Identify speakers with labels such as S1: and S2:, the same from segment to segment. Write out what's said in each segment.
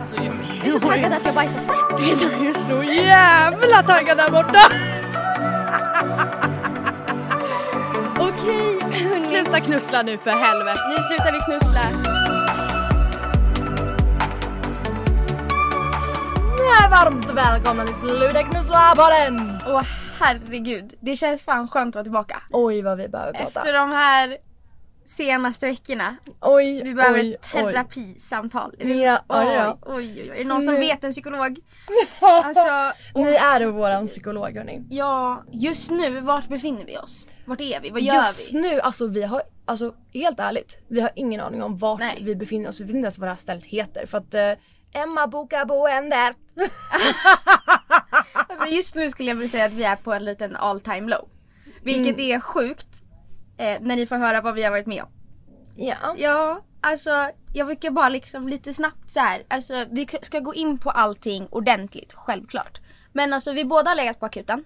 S1: Alltså, jag,
S2: Jag är så taggad att jag bajsar snabbt.
S1: jag är så jävla taggad där borta!
S2: Okej, hörni.
S1: Sluta knussla nu för helvete!
S2: Nu slutar vi knussla.
S1: Ni är varmt välkomna till Sluta knussla på den!
S2: Åh herregud, det känns fan skönt att vara tillbaka.
S1: Oj vad vi behöver prata.
S2: Efter de här senaste veckorna.
S1: Oj,
S2: Vi behöver
S1: oj,
S2: ett terapisamtal. Är det-
S1: Ja, ja, ja.
S2: Oj, oj, oj. Är det någon som
S1: Nu-
S2: vet en psykolog?
S1: Oj.
S2: Alltså,
S1: Ni är våran psykolog hörni.
S2: ja, just nu, vart befinner vi oss? Vart är vi? Vad gör
S1: Just
S2: vi?
S1: nu, alltså vi har, alltså helt ärligt, vi har ingen aning om vart
S2: Nej.
S1: vi befinner oss. Vi vet inte ens vad det här stället heter för att eh, Emma bokar boende.
S2: Alltså, just nu skulle jag vilja säga att vi är på en liten all time low. Vilket är sjukt. Eh, när ni får höra vad vi har varit med om.
S1: Ja.
S2: Ja, alltså jag brukar bara liksom lite snabbt så här. Alltså vi k- ska gå in på allting ordentligt, självklart. Men alltså vi båda har legat på akuten.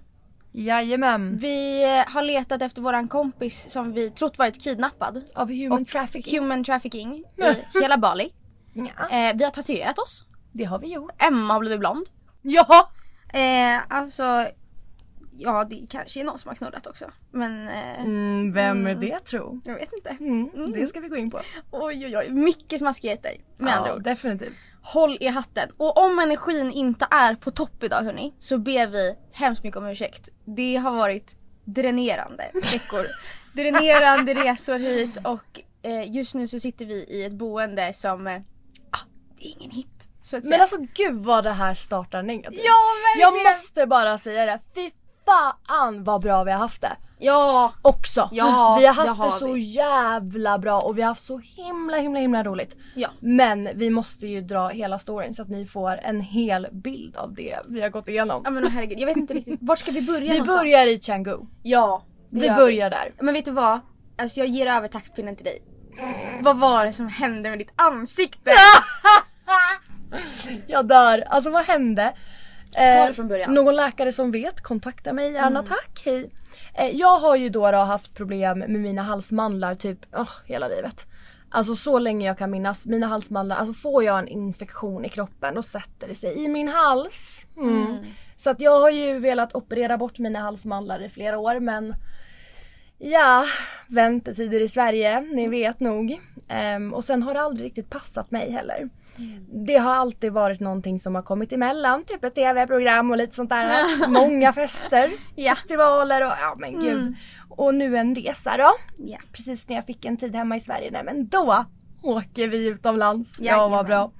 S1: Jajamän.
S2: Vi eh, har letat efter våran kompis som vi trott varit kidnappad.
S1: Av human
S2: Och
S1: trafficking.
S2: Human trafficking i hela Bali.
S1: Ja,
S2: Eh, vi har tatuerat oss.
S1: det har vi gjort.
S2: Emma har blivit blond.
S1: Ja!
S2: Eh, alltså, ja det kanske är någon som har knullat också. Men eh,
S1: Mm, vem är det tro?
S2: jag vet inte.
S1: Mm, det ska vi gå in på.
S2: Oj oj oj, mycket smaskigheter med andra ord.
S1: definitivt.
S2: Håll i hatten. Och om energin inte är på topp idag hörni, så ber vi hemskt mycket om ursäkt. Det har varit dränerande veckor. dränerande resor hit och eh, just nu så sitter vi i ett boende som, eh, ah, det är ingen hit. Så att
S1: Men
S2: säga.
S1: alltså gud vad det här startar negativt.
S2: ja
S1: Jag
S2: verkligen!
S1: måste bara säga det, fy fan vad bra vi har haft det.
S2: Ja!
S1: Också.
S2: Ja,
S1: vi har
S2: det
S1: haft det,
S2: har
S1: så
S2: vi.
S1: jävla bra och vi har haft så himla himla himla roligt.
S2: Ja.
S1: Men vi måste ju dra hela storyn så att ni får en hel bild av det vi har gått igenom.
S2: Ja men åh, herregud, jag vet inte riktigt, vart ska vi börja
S1: Vi
S2: någonstans?
S1: börjar i Canggu.
S2: Ja, det
S1: Vi
S2: gör
S1: börjar där.
S2: Men vet du vad? Alltså jag ger över taktpinnen till dig. Vad var det som hände med ditt ansikte?
S1: Jag dör. Alltså vad hände?
S2: Ta
S1: Eh,
S2: det från början. Mm.
S1: Någon läkare som vet, kontakta mig gärna tack. Hej. Eh, jag har ju då, då haft problem med mina halsmandlar typ åh, hela livet. Alltså så länge jag kan minnas. Mina halsmandlar, alltså får jag en infektion i kroppen då sätter det sig i min hals. Mm. Så att jag har ju velat operera bort mina halsmandlar i flera år men Ja, väntetider i Sverige,
S2: Mm.
S1: ni vet nog. Ehm, och sen har det aldrig riktigt passat mig heller.
S2: Mm.
S1: Det har alltid varit någonting som har kommit emellan, typ ett tv-program och lite sånt där. Många fester,
S2: Ja. Mm.
S1: festivaler och ja men gud. Och nu en resa då.
S2: Ja.
S1: Precis när jag fick en tid hemma i Sverige, nej men då åker vi utomlands. Ja
S2: Jajamän.
S1: vad bra.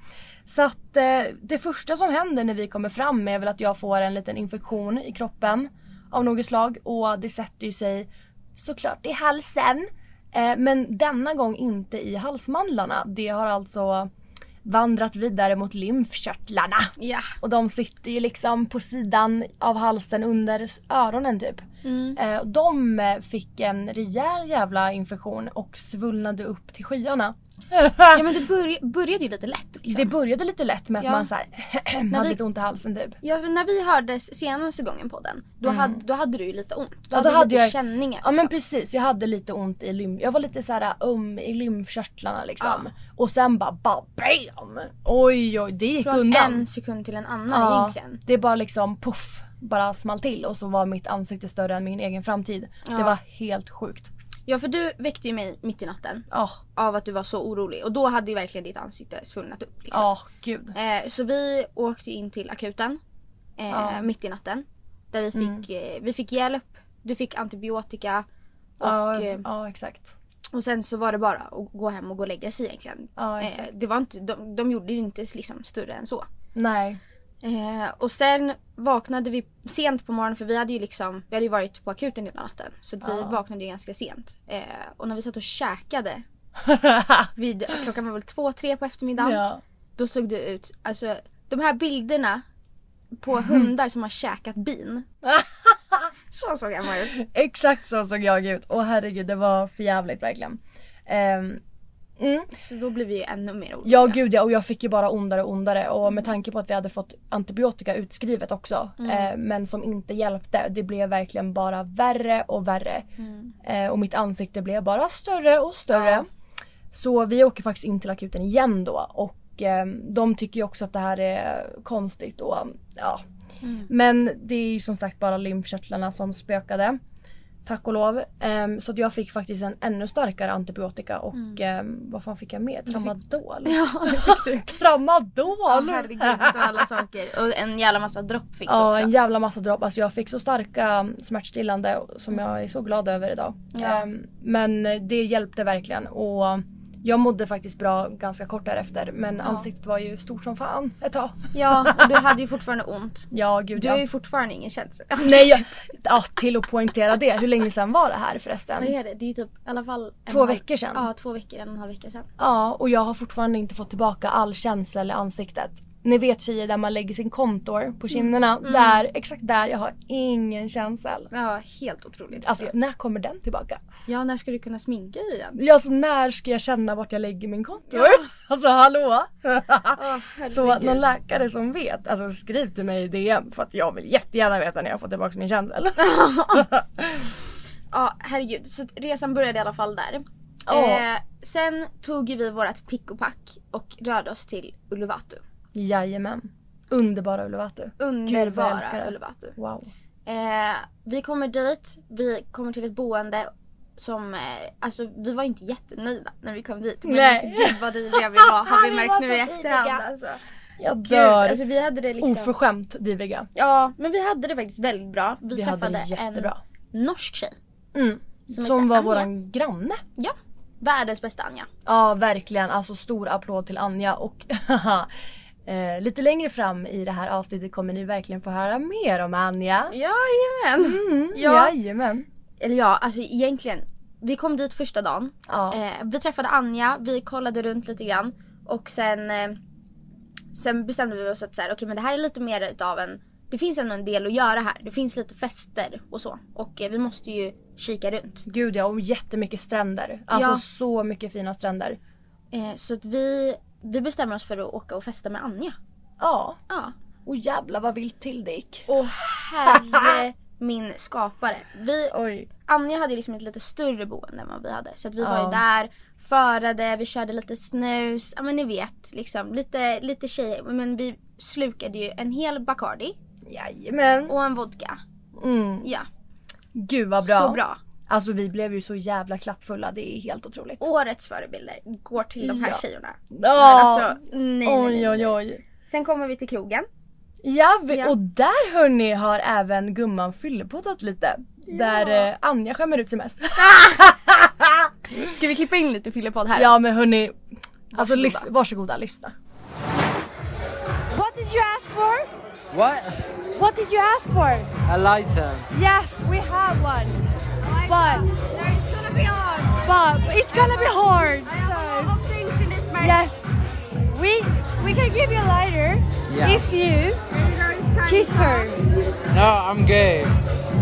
S1: Så att eh, det första som händer när vi kommer fram är väl att jag får en liten infektion i kroppen av något slag och det sätter ju sig såklart i halsen. Eh, men denna gång inte i halsmandlarna. Det har alltså vandrat vidare mot lymfkörtlarna.
S2: Ja.
S1: Och de sitter ju liksom på sidan av halsen under s- öronen typ.
S2: Mm.
S1: Eh, och de eh, fick en rejäl jävla infektion och svullnade upp till skyarna.
S2: Ja men det börj- började ju lite lätt liksom.
S1: Det började lite lätt med att
S2: Ja.
S1: man så här, hade
S2: vi-
S1: lite ont i halsen typ.
S2: Ja för när vi hördes senaste gången på den då, hade, då hade du ju lite ont. Mm.
S1: Ja,
S2: Då hade
S1: då
S2: du
S1: hade
S2: lite
S1: jag-
S2: känningar
S1: Ja men
S2: liksom.
S1: precis, jag hade lite ont i lym... Jag var lite så här öm i lymfkörtlarna liksom. Och sen bara, bara BAM! Oj oj, det gick
S2: Från
S1: undan.
S2: en sekund till en annan
S1: Ja,
S2: egentligen.
S1: det bara liksom puff, bara small till och så var mitt ansikte större än min egen framtid. Det
S2: Ja.
S1: var helt sjukt.
S2: Ja för du väckte ju mig mitt i natten
S1: Ja,
S2: av att du var så orolig och då hade ju verkligen ditt ansikte svullnat upp. Liksom.
S1: ja gud.
S2: Eh, så vi åkte in till akuten eh,
S1: Ja.
S2: mitt i natten. Där vi fick, eh, vi fick hjälp, du fick antibiotika och,
S1: Ja, alltså,
S2: eh,
S1: ja exakt.
S2: och sen så var det bara att gå hem och gå och lägga sig egentligen.
S1: Ja,
S2: Eh,
S1: exakt.
S2: det var inte, de, de gjorde det inte liksom större än så.
S1: Nej.
S2: Eh, och sen vaknade vi sent på morgonen för vi hade ju liksom, vi hade ju varit på akuten hela natten. Så att vi vaknade ju ganska sent. Eh, och när vi satt och käkade vid, klockan var väl två, tre på eftermiddagen.
S1: ja.
S2: Då såg det ut, alltså de här bilderna
S1: Mm.
S2: på hundar som har käkat bin. så såg Emma ut.
S1: Exakt så såg jag ut. Åh herregud, det var för jävligt verkligen. Ehm, mm.
S2: Så då blev vi ju ännu mer oroliga.
S1: Ja gud ja, och jag fick ju bara ondare och ondare och med tanke på att vi hade fått antibiotika utskrivet också eh, men som inte hjälpte. Det blev verkligen bara värre och värre. Eh, och mitt ansikte blev bara större och större. Så vi åker faktiskt in till akuten igen då och eh, de tycker ju också att det här är konstigt och ja. Men det är ju som sagt bara lymfkörtlarna som spökade. Tack och lov. Ehm, så att jag fick faktiskt en ännu starkare antibiotika och ehm, vad fan fick jag mer? Tramadol?
S2: Ja, det fick du.
S1: Tramadol!
S2: Ja, herregud och alla saker. Och en jävla massa dropp fick du
S1: Ja,
S2: också.
S1: en jävla massa dropp. Alltså jag fick så starka mm, smärtstillande som jag är så glad över idag.
S2: Mm. Ja.
S1: Ehm, Men det hjälpte verkligen och jag mådde faktiskt bra ganska kort därefter men ansiktet var ju stort som fan ett tag.
S2: Ja, och du hade ju fortfarande ont.
S1: Ja gud
S2: Du
S1: ja.
S2: har ju fortfarande ingen känsla.
S1: Nej jag... Ja, till att poängtera det. Hur länge sedan var det här förresten?
S2: Vad är det? Det är ju typ i alla fall en
S1: Två
S2: halv-
S1: veckor sedan.
S2: Ja, två veckor, en och en halv vecka sedan.
S1: Ja, och jag har fortfarande inte fått tillbaka all känsla i ansiktet. Ni vet tjejer där man lägger sin kontor på kinderna.
S2: Mm.
S1: Där, exakt där, jag har ingen känsla.
S2: Ja, helt otroligt.
S1: Alltså när kommer den tillbaka?
S2: ja, när ska du kunna sminka dig igen?
S1: Ja, alltså när ska jag känna vart jag lägger min kontor? Alltså hallå? så någon läkare som vet, alltså skriv till mig i DM för att jag vill jättegärna veta när jag får tillbaka min känsel.
S2: Ja, herregud. Så att resan började i alla fall där.
S1: Ja.
S2: Eh, sen tog ju vi vårat pick och pack och rörde oss till Uluvatu.
S1: Jajamän. Underbara Uluvatu. Gud, vad jag älskar
S2: Underbara
S1: det.
S2: Uluvatu.
S1: Wow.
S2: Eh, vi kommer dit, vi kommer till ett boende som, eh, alltså vi var inte jättenöjda när vi kom dit. Men
S1: Nej.
S2: alltså gud vad diviga vi var har vi
S1: Vi
S2: märkt
S1: var
S2: nu
S1: så
S2: i efterhand
S1: diviga.
S2: alltså.
S1: Jag
S2: Gud,
S1: dör.
S2: alltså vi hade det liksom.
S1: Oförskämt diviga.
S2: Ja, men vi hade det faktiskt väldigt bra. Vi,
S1: Vi hade
S2: träffade
S1: det
S2: en Oh
S1: jättebra.
S2: norsk tjej.
S1: Mm.
S2: Som
S1: Som,
S2: heter
S1: var
S2: Anja.
S1: våran granne.
S2: Ja, världens bästa Anja.
S1: Ja verkligen, alltså stor applåd till Anja och eh, lite längre fram i det här avsnittet kommer ni verkligen få höra mer om Anja.
S2: Ja, jajamän.
S1: Mm,
S2: Ja.
S1: Jajamän.
S2: Eller ja, alltså egentligen. Vi kom dit första dagen.
S1: Ja.
S2: Eh, vi träffade Anja, vi kollade runt lite grann och sen, eh, sen bestämde vi oss att så här, okej men det här är lite mer utav en, det finns ändå en del att göra här. Det finns lite fester och så och eh, vi måste ju kika runt.
S1: Gud ja, och jättemycket stränder. Alltså
S2: Ja.
S1: så mycket fina stränder.
S2: Eh, så att vi, vi bestämmer oss för att åka och festa med Anja.
S1: Ja.
S2: Ja.
S1: Och jävla vad vilt till det gick.
S2: Och herre min skapare. Vi,
S1: Oj.
S2: Anja hade liksom ett lite större boende än vad vi hade. Så att vi var ju
S1: Ja.
S2: där, förade, vi körde lite snus. Ja men ni vet liksom lite, lite tjejer. Men vi slukade ju en hel Bacardi
S1: Jajamän.
S2: och en vodka.
S1: Mm.
S2: Ja,
S1: Gud vad bra.
S2: så bra.
S1: Alltså vi blev ju så jävla klappfulla, det är helt otroligt.
S2: Årets förebilder går till de här
S1: Ja.
S2: tjejerna.
S1: Ja.
S2: alltså, nej, nej, nej,
S1: oj oj
S2: nej.
S1: oj.
S2: Sen kommer vi till krogen.
S1: Ja, vi,
S2: Ja.
S1: och där hörni har även gumman fyllepoddat lite. Där eh, Anja skämmer ut sig mest.
S2: Ska vi klippa in lite fyllepodd här?
S1: ja men hörni, alltså
S2: Varsågoda.
S1: lys- varsågoda lyssna.
S3: What did you ask for?
S4: What?
S3: What did you ask for?
S4: A lighter.
S3: Yes, we have one. But but it's gonna be hard. So yes, we we can give you a lighter
S4: Yeah.
S3: if you kiss her.
S4: No, I'm gay.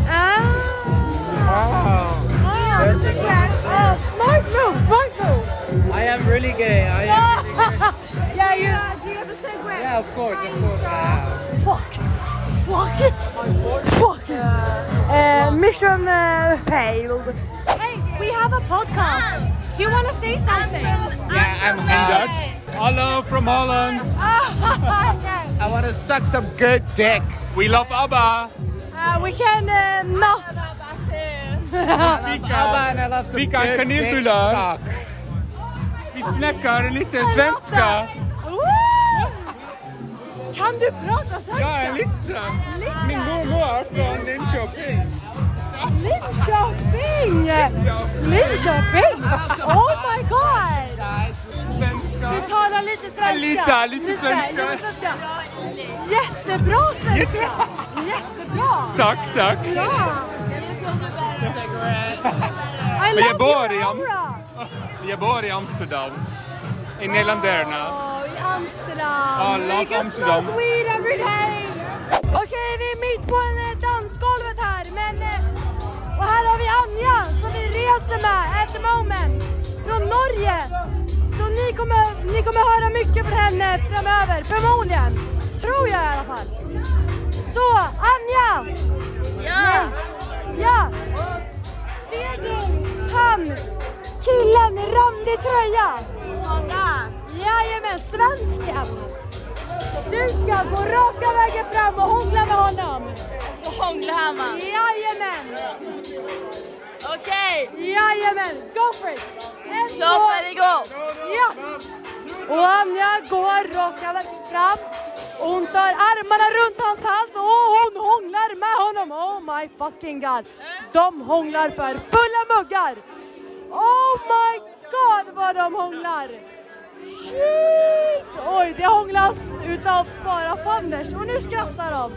S3: Ah.
S4: Wow.
S1: Oh.
S3: Ah, smart move, smart move.
S4: I am really
S5: gay. I am.
S1: yeah, you.
S6: Do you have a segue?
S5: Yeah, of course, of course. I
S1: Fuck. Fuck. Fuck. Uh, mission uh, failed. Hey, we have a podcast. Do you want to say something?
S5: Yeah, I'm Dutch.
S7: Hallo from Holland.
S1: Oh,
S7: I want to suck some good dick. We love ABBA.
S1: uh, we can uh, not.
S5: love ABBA and I love some
S7: Wie kan
S5: good dick
S7: knibbelen?
S5: cock.
S7: Vi snackar lite svenska.
S1: Ooh. Kan du prata
S7: Ja,
S1: svenska?
S7: lite. Min mormor från Linköping.
S1: Linköping! Linköping! Oh my god! Du
S7: Svenska.
S1: talar lite svenska.
S7: Lite, lite svenska.
S1: lite svenska. Jättebra svenska! Jättebra!
S7: Tack, tack.
S1: Bra! I
S7: Men jag
S1: love your
S7: bor i Am-
S1: aura!
S7: Jag bor i Amsterdam. I Nederländerna.
S1: Oh, i
S7: Ja,
S1: Amsterdam.
S7: love
S1: We can
S7: Amsterdam.
S1: smoke weed every day. Okej, vi är mitt på en, eh, dansgolvet här. Men, eh, och här har vi Anja som vi reser med at the moment. Från Norge. Så ni kommer, ni kommer höra mycket från henne framöver. Förmodligen. Tror jag i alla fall. Så, Anja! Ja! Ja! Ser du han, killen i randig tröja? Jajamän, svensken! Du ska gå raka vägen fram och hångla med honom! Jajamän!
S8: Okay.
S1: Jajamän! Go for it! En,
S8: So ready go.
S1: Ja! Och Anja går raka vägen fram. Och Hon tar armarna runt hans hals och hon hånglar med honom. Oh my fucking god. De hånglar för fulla muggar. Oh my god vad de hånglar. Shit! Oj, det hånglas utav bara fanders. Och nu skrattar de.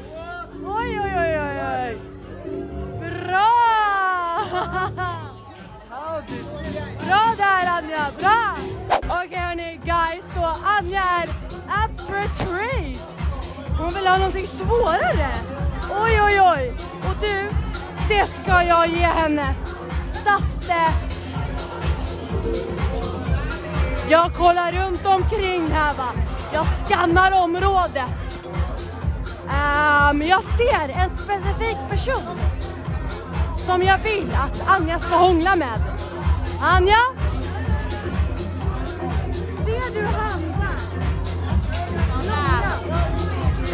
S1: Oj, oj, oj, oj, oj. Bra! Bra där Anja, bra! Okej hörni guys, så Anja är up for a treat. Hon vill ha någonting svårare. Oj oj oj. Och du, det ska jag ge henne. Satte. Jag kollar runt omkring här va. Jag skannar området. Ehm, jag ser en specifik person som jag vill att Anja ska hångla med. Anja? Ser du han där? Blomman.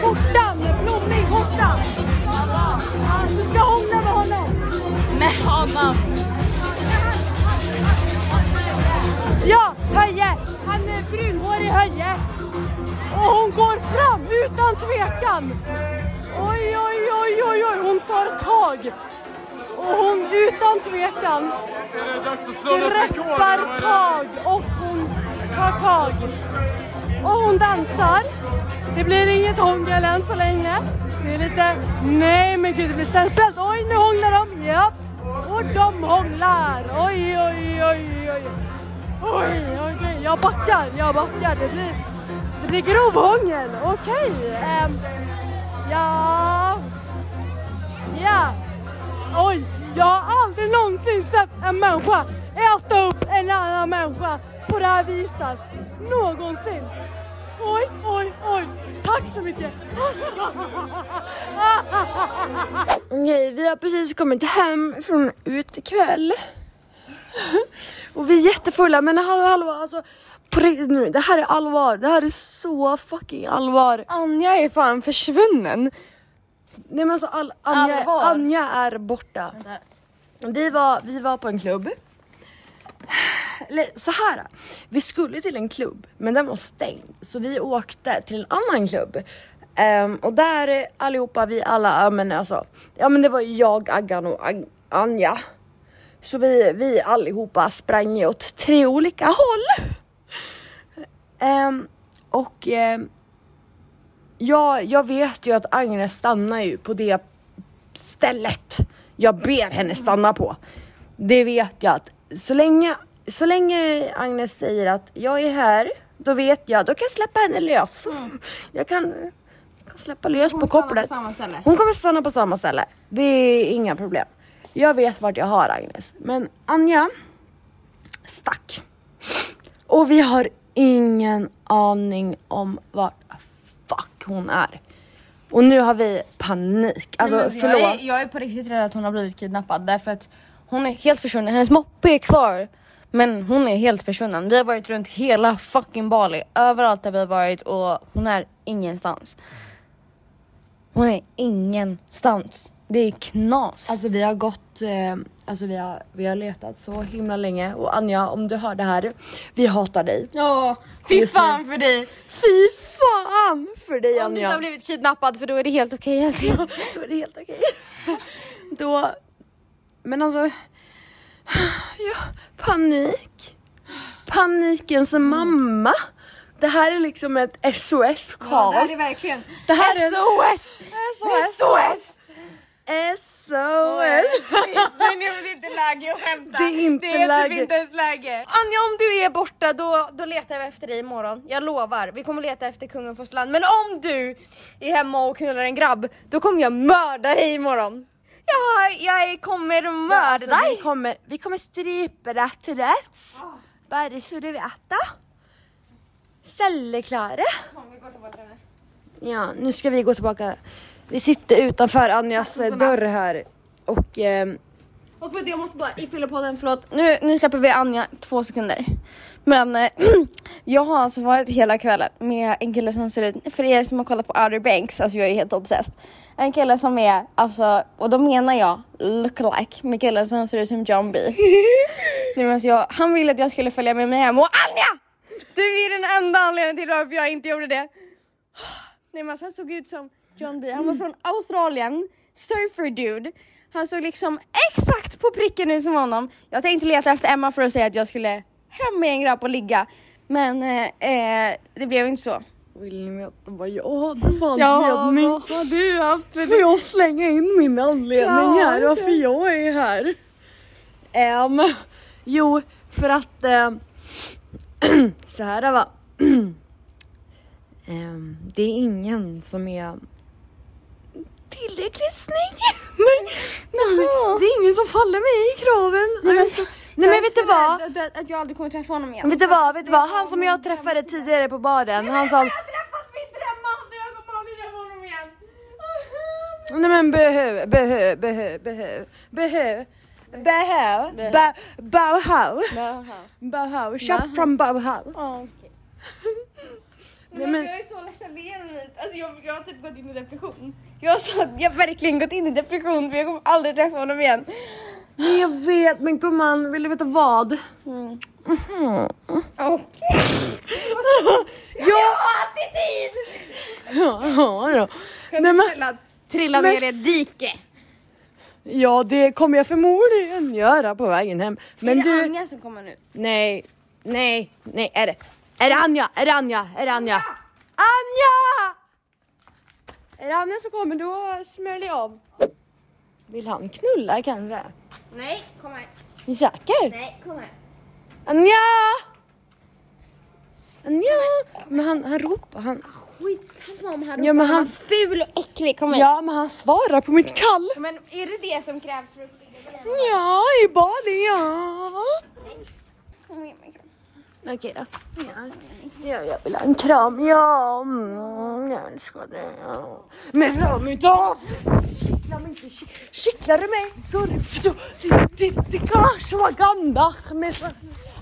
S1: Skjortan, blommig skjorta. Ja, Du ska hångla med honom.
S8: Med honom.
S1: Ja, Höje! Han är brunhårig Höje. Och hon går fram utan tvekan. Oj, oj, oj, oj, oj, hon tar tag. Och hon utan tvekan greppar tag och hon tar tag. Och hon dansar. Det blir inget hångel än så länge. Det är lite, nej men gud det blir sensuellt. Oj nu hånglar de, japp. Och de hånglar. Oj, oj, oj, oj. Oj, okej, jag backar, jag backar. Det blir, det blir grov hångel. Okej. ehm, ja. Ja. Oj, jag har aldrig någonsin sett en människa äta upp en annan människa på det här viset. Någonsin. Oj, oj, oj. Tack så mycket. Okej, vi har precis kommit hem från utekväll. Och vi är jättefulla men hallå hallå alltså på riktigt nu, det här är allvar. Det här är så fucking allvar.
S3: Anja är fan försvunnen.
S1: Nej men alltså all, Anja,
S3: Allvar.
S1: Anja är borta. Vi var, vi var på en klubb. Eller så här. Vi skulle till en klubb men den var stängd så vi åkte till en annan klubb. Ehm, och där eh, allihopa, vi alla, ja men alltså. Ja men det var ju jag, Aggan och Ag- Anja. Så vi, vi allihopa sprang ju åt tre olika håll. Ehm, och ehm, jag, jag vet ju att Agnes stannar ju på det stället jag ber henne stanna på. Det vet jag att så länge, så länge Agnes säger att jag är här, då vet jag, då kan jag släppa henne lös.
S8: Mm.
S1: Jag, kan, jag kan släppa lös på kopplet. Hon kommer stanna på samma ställe. Det är inga problem. Jag vet vart jag har Agnes. Men Anja stack.
S3: Och vi har ingen aning om vart fuck hon är. Och nu har vi panik. Alltså
S8: Nej, men
S3: förlåt.
S8: Jag är, jag är på riktigt rädd att hon har blivit kidnappad därför att hon är helt försvunnen. Hennes moppe är kvar men hon är helt försvunnen. Vi har varit runt hela fucking Bali, överallt där vi har varit och hon är ingenstans. Hon är ingenstans. Det är knas.
S3: Alltså vi har gått, eh, alltså vi har, vi har letat så himla länge och Anja om du hör det här, vi hatar dig.
S8: Ja, fy
S3: Just nu.
S8: fan för dig!
S3: Fy fan för dig
S8: Om du
S3: Anja.
S8: har blivit kidnappad för då är det helt okej älskling.
S3: Då är det helt okej. Då, men alltså, ja, panik. Panikens mamma. Det här är liksom ett SOS call.
S2: Ja, det här är verkligen
S3: Det här är-
S2: SOS!
S3: SOS!
S2: SOS!
S3: SOS.
S2: Nej nu är det inte läge att skämta.
S3: Det är inte
S2: det är
S3: läge.
S2: Typ inte ens läge.
S8: Anja om du är borta då, då letar vi efter dig imorgon. Jag lovar. Vi kommer leta efter kungen fosterland. Men om du är hemma och knullar en grabb då kommer jag mörda dig imorgon. Ja, jag kommer mörda
S3: alltså, vi,
S8: dig.
S3: kommer, vi kommer strypa det till rätt. Bara så du vet det. Celleklare. Ja, nu ska vi gå tillbaka. Vi sitter utanför Anjas eh, dörr här. Och ehm,
S8: Och med det jag måste bara ifylla på den, förlåt. Nu, nu släpper vi Anja två sekunder. Men eh, jag har alltså varit hela kvällen med en kille som ser ut, för er som har kollat på Outer Banks, alltså jag är helt obsessed. En kille som är, alltså, och då menar jag look-alike med killen som ser ut som John B. Nej, men alltså jag, han ville att jag skulle följa med mig hem och Anja! Du är den enda anledningen till varför jag inte gjorde det. Nej men alltså han såg ut som John B. Han var från Australien, surfer dude. Han såg liksom exakt på pricken ut som honom. Jag tänkte leta efter Emma för att säga att jag skulle hem med en grabb och ligga. Men eh, eh, det blev inte så.
S3: William och jag bara ja, det fanns
S8: Ja,
S3: ledning.
S8: vad har du haft för
S3: Får jag slänga in min anledning
S8: Ja,
S3: här varför jag är här? Ehm, jo, för att ehm, så här va. Ehm, det är ingen som är tillräckligt snygg. nej, nej, det är ingen som faller mig i kraven. Nej, men, nej, men vet du vad?
S8: Att, att, att jag aldrig kommer träffa honom igen.
S3: Vet du vad, vet du vad? Han som jag träffade tidigare på baren, han som... Nej men behö, behö, behö, behö, behö, behö, ba- Bauhaus. Bauhaus, shop from Bauhaus. Nej, men-
S8: Jag är så ledsen, det är en myt. Alltså jag, jag har typ gått in i depression. Jag har, så, jag har verkligen gått in i depression för jag kommer aldrig träffa honom igen.
S3: Nej jag vet men gumman, vill du veta vad?
S8: Mm.
S3: Mhm. Ja,
S8: Attityd!
S3: ja då.
S8: Kan du
S3: Nej, men-
S8: snälla trilla
S3: Men
S8: ner i ett dike?
S3: Ja det kommer jag förmodligen göra på vägen hem. Men
S8: är det
S3: du...
S8: Anja som kommer nu?
S3: Nej, nej, nej, är det? Är det Anja? Är det Anja? Är det Anja? Anja! Är det Anja som kommer då smäller jag av. Vill han knulla kanske?
S8: Nej, kom här.
S3: Är ni säker?
S8: Nej, kom här.
S3: Anja! Anja! Men han, han ropar, han...
S8: Ah, Skitsamma om han
S3: Ja men han...
S8: Ful och äcklig, kom hit.
S3: Ja men han svarar på mitt kall.
S8: Men är det det som krävs för att ligga med den?
S3: Ja, i Bali ja.
S8: Kom igen med kram.
S3: Okej då. Ja, ja, jag vill ha en kram, ja. Mm, jag önskar det. Ja. Men ram inte av! Kittla mig inte. ki- Kittlar du mig? Dikashwaganda Ahmed.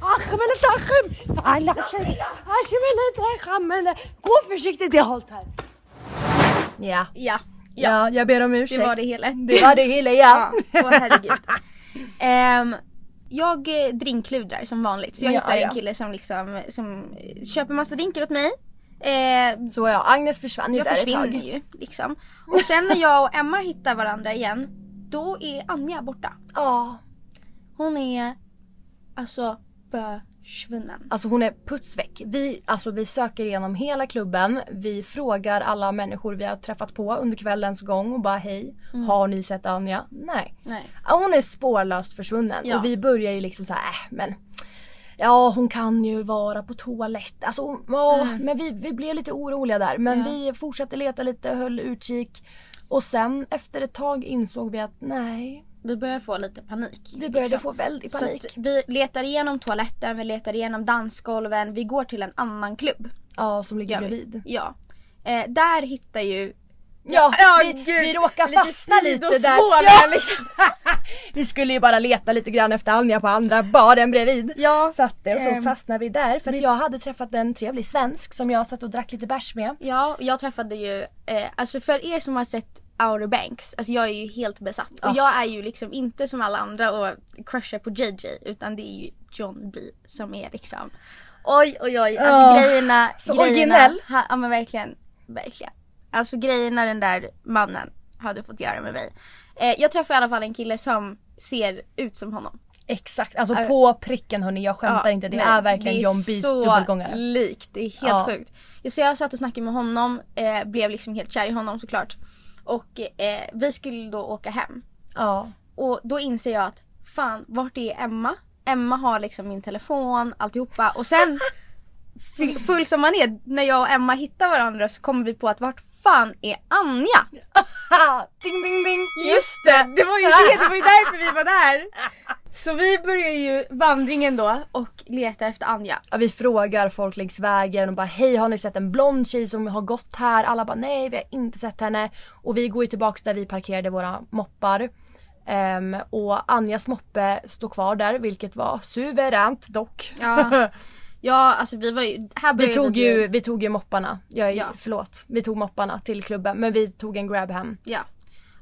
S3: Ahmed eller Ahmed. Alla tjejer. Ahmed eller Ahmed. Gå försiktigt i halt här.
S1: Ja.
S8: Ja,
S1: ja. jag ber om ursäkt.
S8: det var det hela.
S1: Det var det hela ja.
S8: Åh herregud. Ehm, jag eh, drinkludrar som vanligt så jag
S1: Ja,
S8: hittar
S1: ja.
S8: en kille som liksom som eh, köper massa drinkar åt mig. Eh,
S1: Så ja, Agnes försvann ju
S8: jag
S1: där
S8: försvinner
S1: ett tag.
S8: ju liksom. Och sen när jag och Emma hittar varandra igen då är Anja borta.
S1: Ja.
S8: Hon är alltså försvunnen.
S1: Alltså hon är putsväck. Vi, alltså, vi söker igenom hela klubben. Vi frågar alla människor vi har träffat på under kvällens gång och bara hej,
S8: Mm.
S1: har ni sett Anja? Nej.
S8: Nej.
S1: Ja, Hon är spårlöst försvunnen
S8: Ja.
S1: och vi börjar ju liksom så här, äh, men Ja hon kan ju vara på toalett. Alltså, hon- ja, men vi, vi blev lite oroliga där men
S8: Ja.
S1: vi fortsatte leta lite, höll utkik och sen efter ett tag insåg vi att nej
S2: vi börjar få lite panik.
S1: Vi började få
S8: liksom.
S1: väldigt panik.
S2: Liksom. Så att vi letar igenom toaletten, vi letar igenom dansgolven, vi går till en annan klubb.
S1: Ja, som ligger
S2: Gör vi.
S1: bredvid.
S2: Ja. Eh, där hittar ju
S1: Ja,
S2: Ja,
S1: vi,
S2: gud.
S1: vi råkar
S2: Lite
S1: fastna lite, där.
S2: sidospår
S1: Ja.
S2: där liksom.
S1: vi skulle ju bara leta lite grann efter Anja på andra baren bredvid.
S2: Ja.
S1: Satt det och så
S2: Ehm,
S1: fastnade vi där för att jag hade träffat en trevlig svensk som jag satt och drack lite bärs med.
S2: Ja, jag träffade ju, eh, alltså för er som har sett Outer Banks, alltså jag är ju helt besatt.
S1: Ah.
S2: Och jag är ju liksom inte som alla andra och crushar på JJ utan det är ju John B som är liksom Oj oj oj, alltså
S1: Ah,
S2: grejerna,
S1: så
S2: grejerna
S1: originell.
S2: ha- Ja men verkligen, verkligen. Alltså grejerna den där mannen hade fått göra med mig. Eh, jag träffade i alla fall en kille som ser ut som honom.
S1: Exakt, alltså
S2: Ja.
S1: på pricken hörni, jag skämtar
S2: Äh, Ja,
S1: inte. Det
S2: nej,
S1: är verkligen
S2: det är
S1: John Bees
S2: så
S1: dubbelgångare.
S2: likt, det är helt
S1: Ja.
S2: sjukt. Så jag satt och snackade med honom, eh, blev liksom helt kär i honom såklart. Och eh, vi skulle då åka hem.
S1: Ja.
S2: Och då inser jag att fan, vart är Emma? Emma har liksom min telefon, alltihopa. Och sen, full- full som man är, när jag och Emma hittar varandra så kommer vi på att vart fan är Anja?
S1: Ha! Ding ding ding!
S2: Just det! Det var ju det, det var ju därför vi var där! Så vi börjar ju vandringen då och letar efter Anja.
S1: Ja, vi frågar folk längs vägen och bara hej har ni sett en blond tjej som har gått här? Alla bara nej vi har inte sett henne. Och vi går ju tillbaks där vi parkerade våra moppar. Ehm, och Anjas moppe står kvar där vilket var suveränt dock.
S2: Ja. Ja, alltså vi var ju, här
S1: vi,
S2: började
S1: tog
S2: bli-
S1: ju, vi tog ju mopparna, jag är,
S2: Ja.
S1: förlåt. Vi tog mopparna till klubben men vi tog en grab hem.
S2: Ja.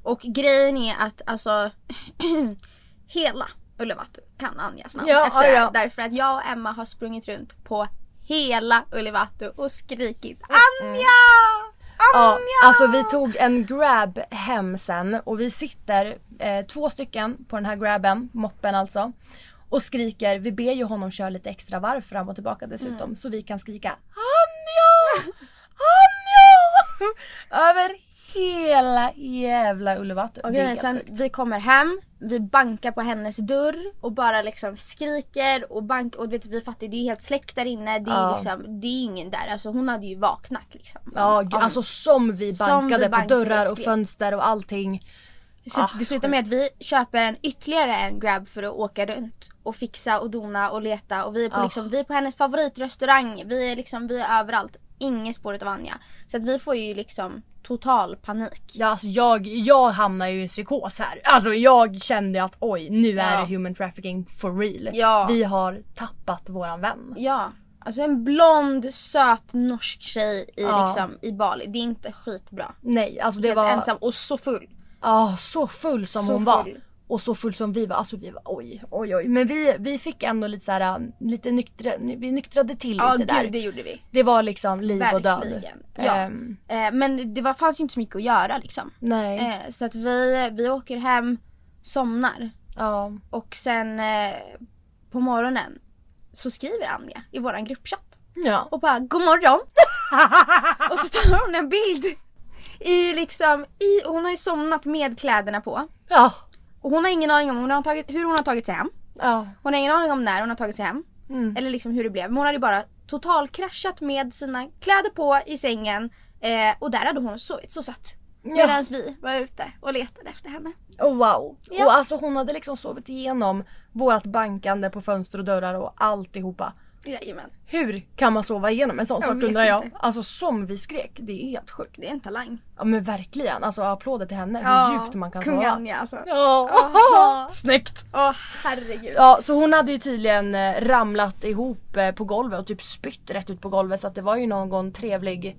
S2: Och grejen är att alltså hela Ullevatten kan Anjas namn
S1: Ja,
S2: efter
S1: ja,
S2: det
S1: ja.
S2: här. Därför att jag och Emma har sprungit runt på hela Ullevatten och skrikit Anja!
S1: Mm. Ja,
S2: Anja!
S1: alltså vi tog en grab hem sen och vi sitter eh, två stycken på den här grabben, moppen alltså. Och skriker, vi ber ju honom köra lite extra varv fram och tillbaka dessutom
S2: Mm.
S1: så vi kan skrika ANJA! ANJA! Över hela jävla Ullevatten.
S2: Och
S1: Det är
S2: grejen är
S1: helt
S2: sen,
S1: sjukt.
S2: vi kommer hem, vi bankar på hennes dörr och bara liksom skriker och bank och du vet, vi fattar det är helt släkt där inne. Det är,
S1: Ja.
S2: liksom, det är ingen där. Alltså hon hade ju vaknat liksom.
S1: Ja, gud, alltså som vi
S2: Som
S1: bankade
S2: vi
S1: på
S2: bankade och
S1: dörrar och
S2: skrek.
S1: fönster och allting.
S2: Så
S1: Ah,
S2: det slutar med att vi köper en ytterligare en grab för att åka runt och fixa och dona och leta och vi är på,
S1: Ah.
S2: liksom, vi är på hennes favoritrestaurang. Vi är, liksom, vi är överallt. Inget spåret av Anja. Så att vi får ju liksom total panik.
S1: Ja, alltså jag, jag hamnar ju i en psykos här. Alltså jag kände att oj, nu är
S2: Ja.
S1: det human trafficking for real.
S2: Ja.
S1: Vi har tappat våran vän.
S2: Ja. Alltså en blond, söt norsk tjej i,
S1: Ja.
S2: liksom, i Bali. Det är inte skitbra.
S1: Nej, alltså Ah. det
S2: Helt
S1: var...
S2: ensam och så full.
S1: Ja, så full som
S2: Så
S1: hon var.
S2: full.
S1: Och så full som vi var. Alltså vi var oj, oj, oj. Men vi, vi fick ändå lite så här, um, lite nyktra, vi nyktrade till
S2: Ja
S1: lite där.
S2: gud det gjorde vi.
S1: Det var liksom liv och död.
S2: Verkligen. Ja.
S1: Ehm,
S2: Eh, men det var, fanns ju inte så mycket att göra liksom.
S1: nej.
S2: Eh, så att vi, vi åker hem, somnar
S1: Ja.
S2: och sen eh, på morgonen så skriver Anja i våran gruppchatt
S1: ja.
S2: och bara god morgon. och så tar hon en bild i liksom, i, hon har ju somnat med kläderna på
S1: Ja.
S2: och hon har ingen aning om hon har tagit, hur hon har tagit sig hem.
S1: Ja.
S2: Hon har ingen aning om när hon har tagit sig hem.
S1: Mm.
S2: Eller liksom hur det blev. Men hon hade bara totalkraschat med sina kläder på i sängen eh, och där hade hon sovit så satt. Medan vi var ute och letade efter henne.
S1: Oh, wow.
S2: Ja.
S1: Och alltså hon hade liksom sovit igenom vårt bankande på fönster och dörrar och alltihopa.
S2: Jajamän.
S1: Hur kan man sova igenom en sån
S2: Jag
S1: sak
S2: vet
S1: undrar jag.
S2: inte.
S1: Alltså som vi skrek, det är helt sjukt.
S2: Det är en talang.
S1: Ja men verkligen, alltså applåder till henne hur djupt man kan
S2: Kung
S1: sova.
S2: Anja alltså.
S1: Ja,
S2: Ja.
S1: snyggt!
S2: Åh herregud.
S1: Ja, så hon hade ju tydligen eh, ramlat ihop eh, på golvet och typ spytt rätt ut på golvet så att det var ju någon trevlig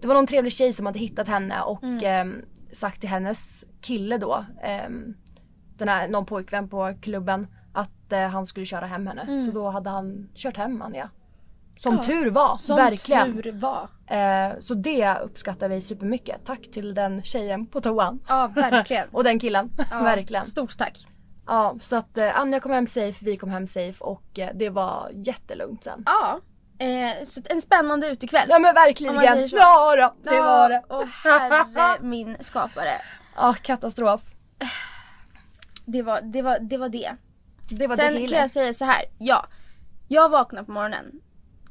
S1: Det var någon trevlig tjej som hade hittat henne och
S2: Mm.
S1: ehm, sagt till hennes kille då ehm, den här, någon pojkvän på klubben att eh, han skulle köra hem henne.
S2: Mm.
S1: Så då hade han kört hem Anja. Som tur var,
S2: Som
S1: verkligen.
S2: tur var.
S1: Eh, så det uppskattar vi supermycket. Tack till den tjejen på toan.
S2: Ja verkligen.
S1: Och den killen.
S2: Ja,
S1: Verkligen.
S2: Stort tack.
S1: Ja, så att eh, Anja kom hem safe, vi kom hem safe och eh, det var jättelugnt sen.
S2: Ja. Eh, så att en spännande utekväll.
S1: Ja men verkligen!
S2: Om man säger så.
S1: Ja då, det var det.
S2: Åh herre min skapare.
S1: Ja, katastrof.
S2: Det var det. Var, det, var det.
S1: Det var
S2: Sen
S1: det
S2: kan jag säga så här. Ja. Jag vaknar på morgonen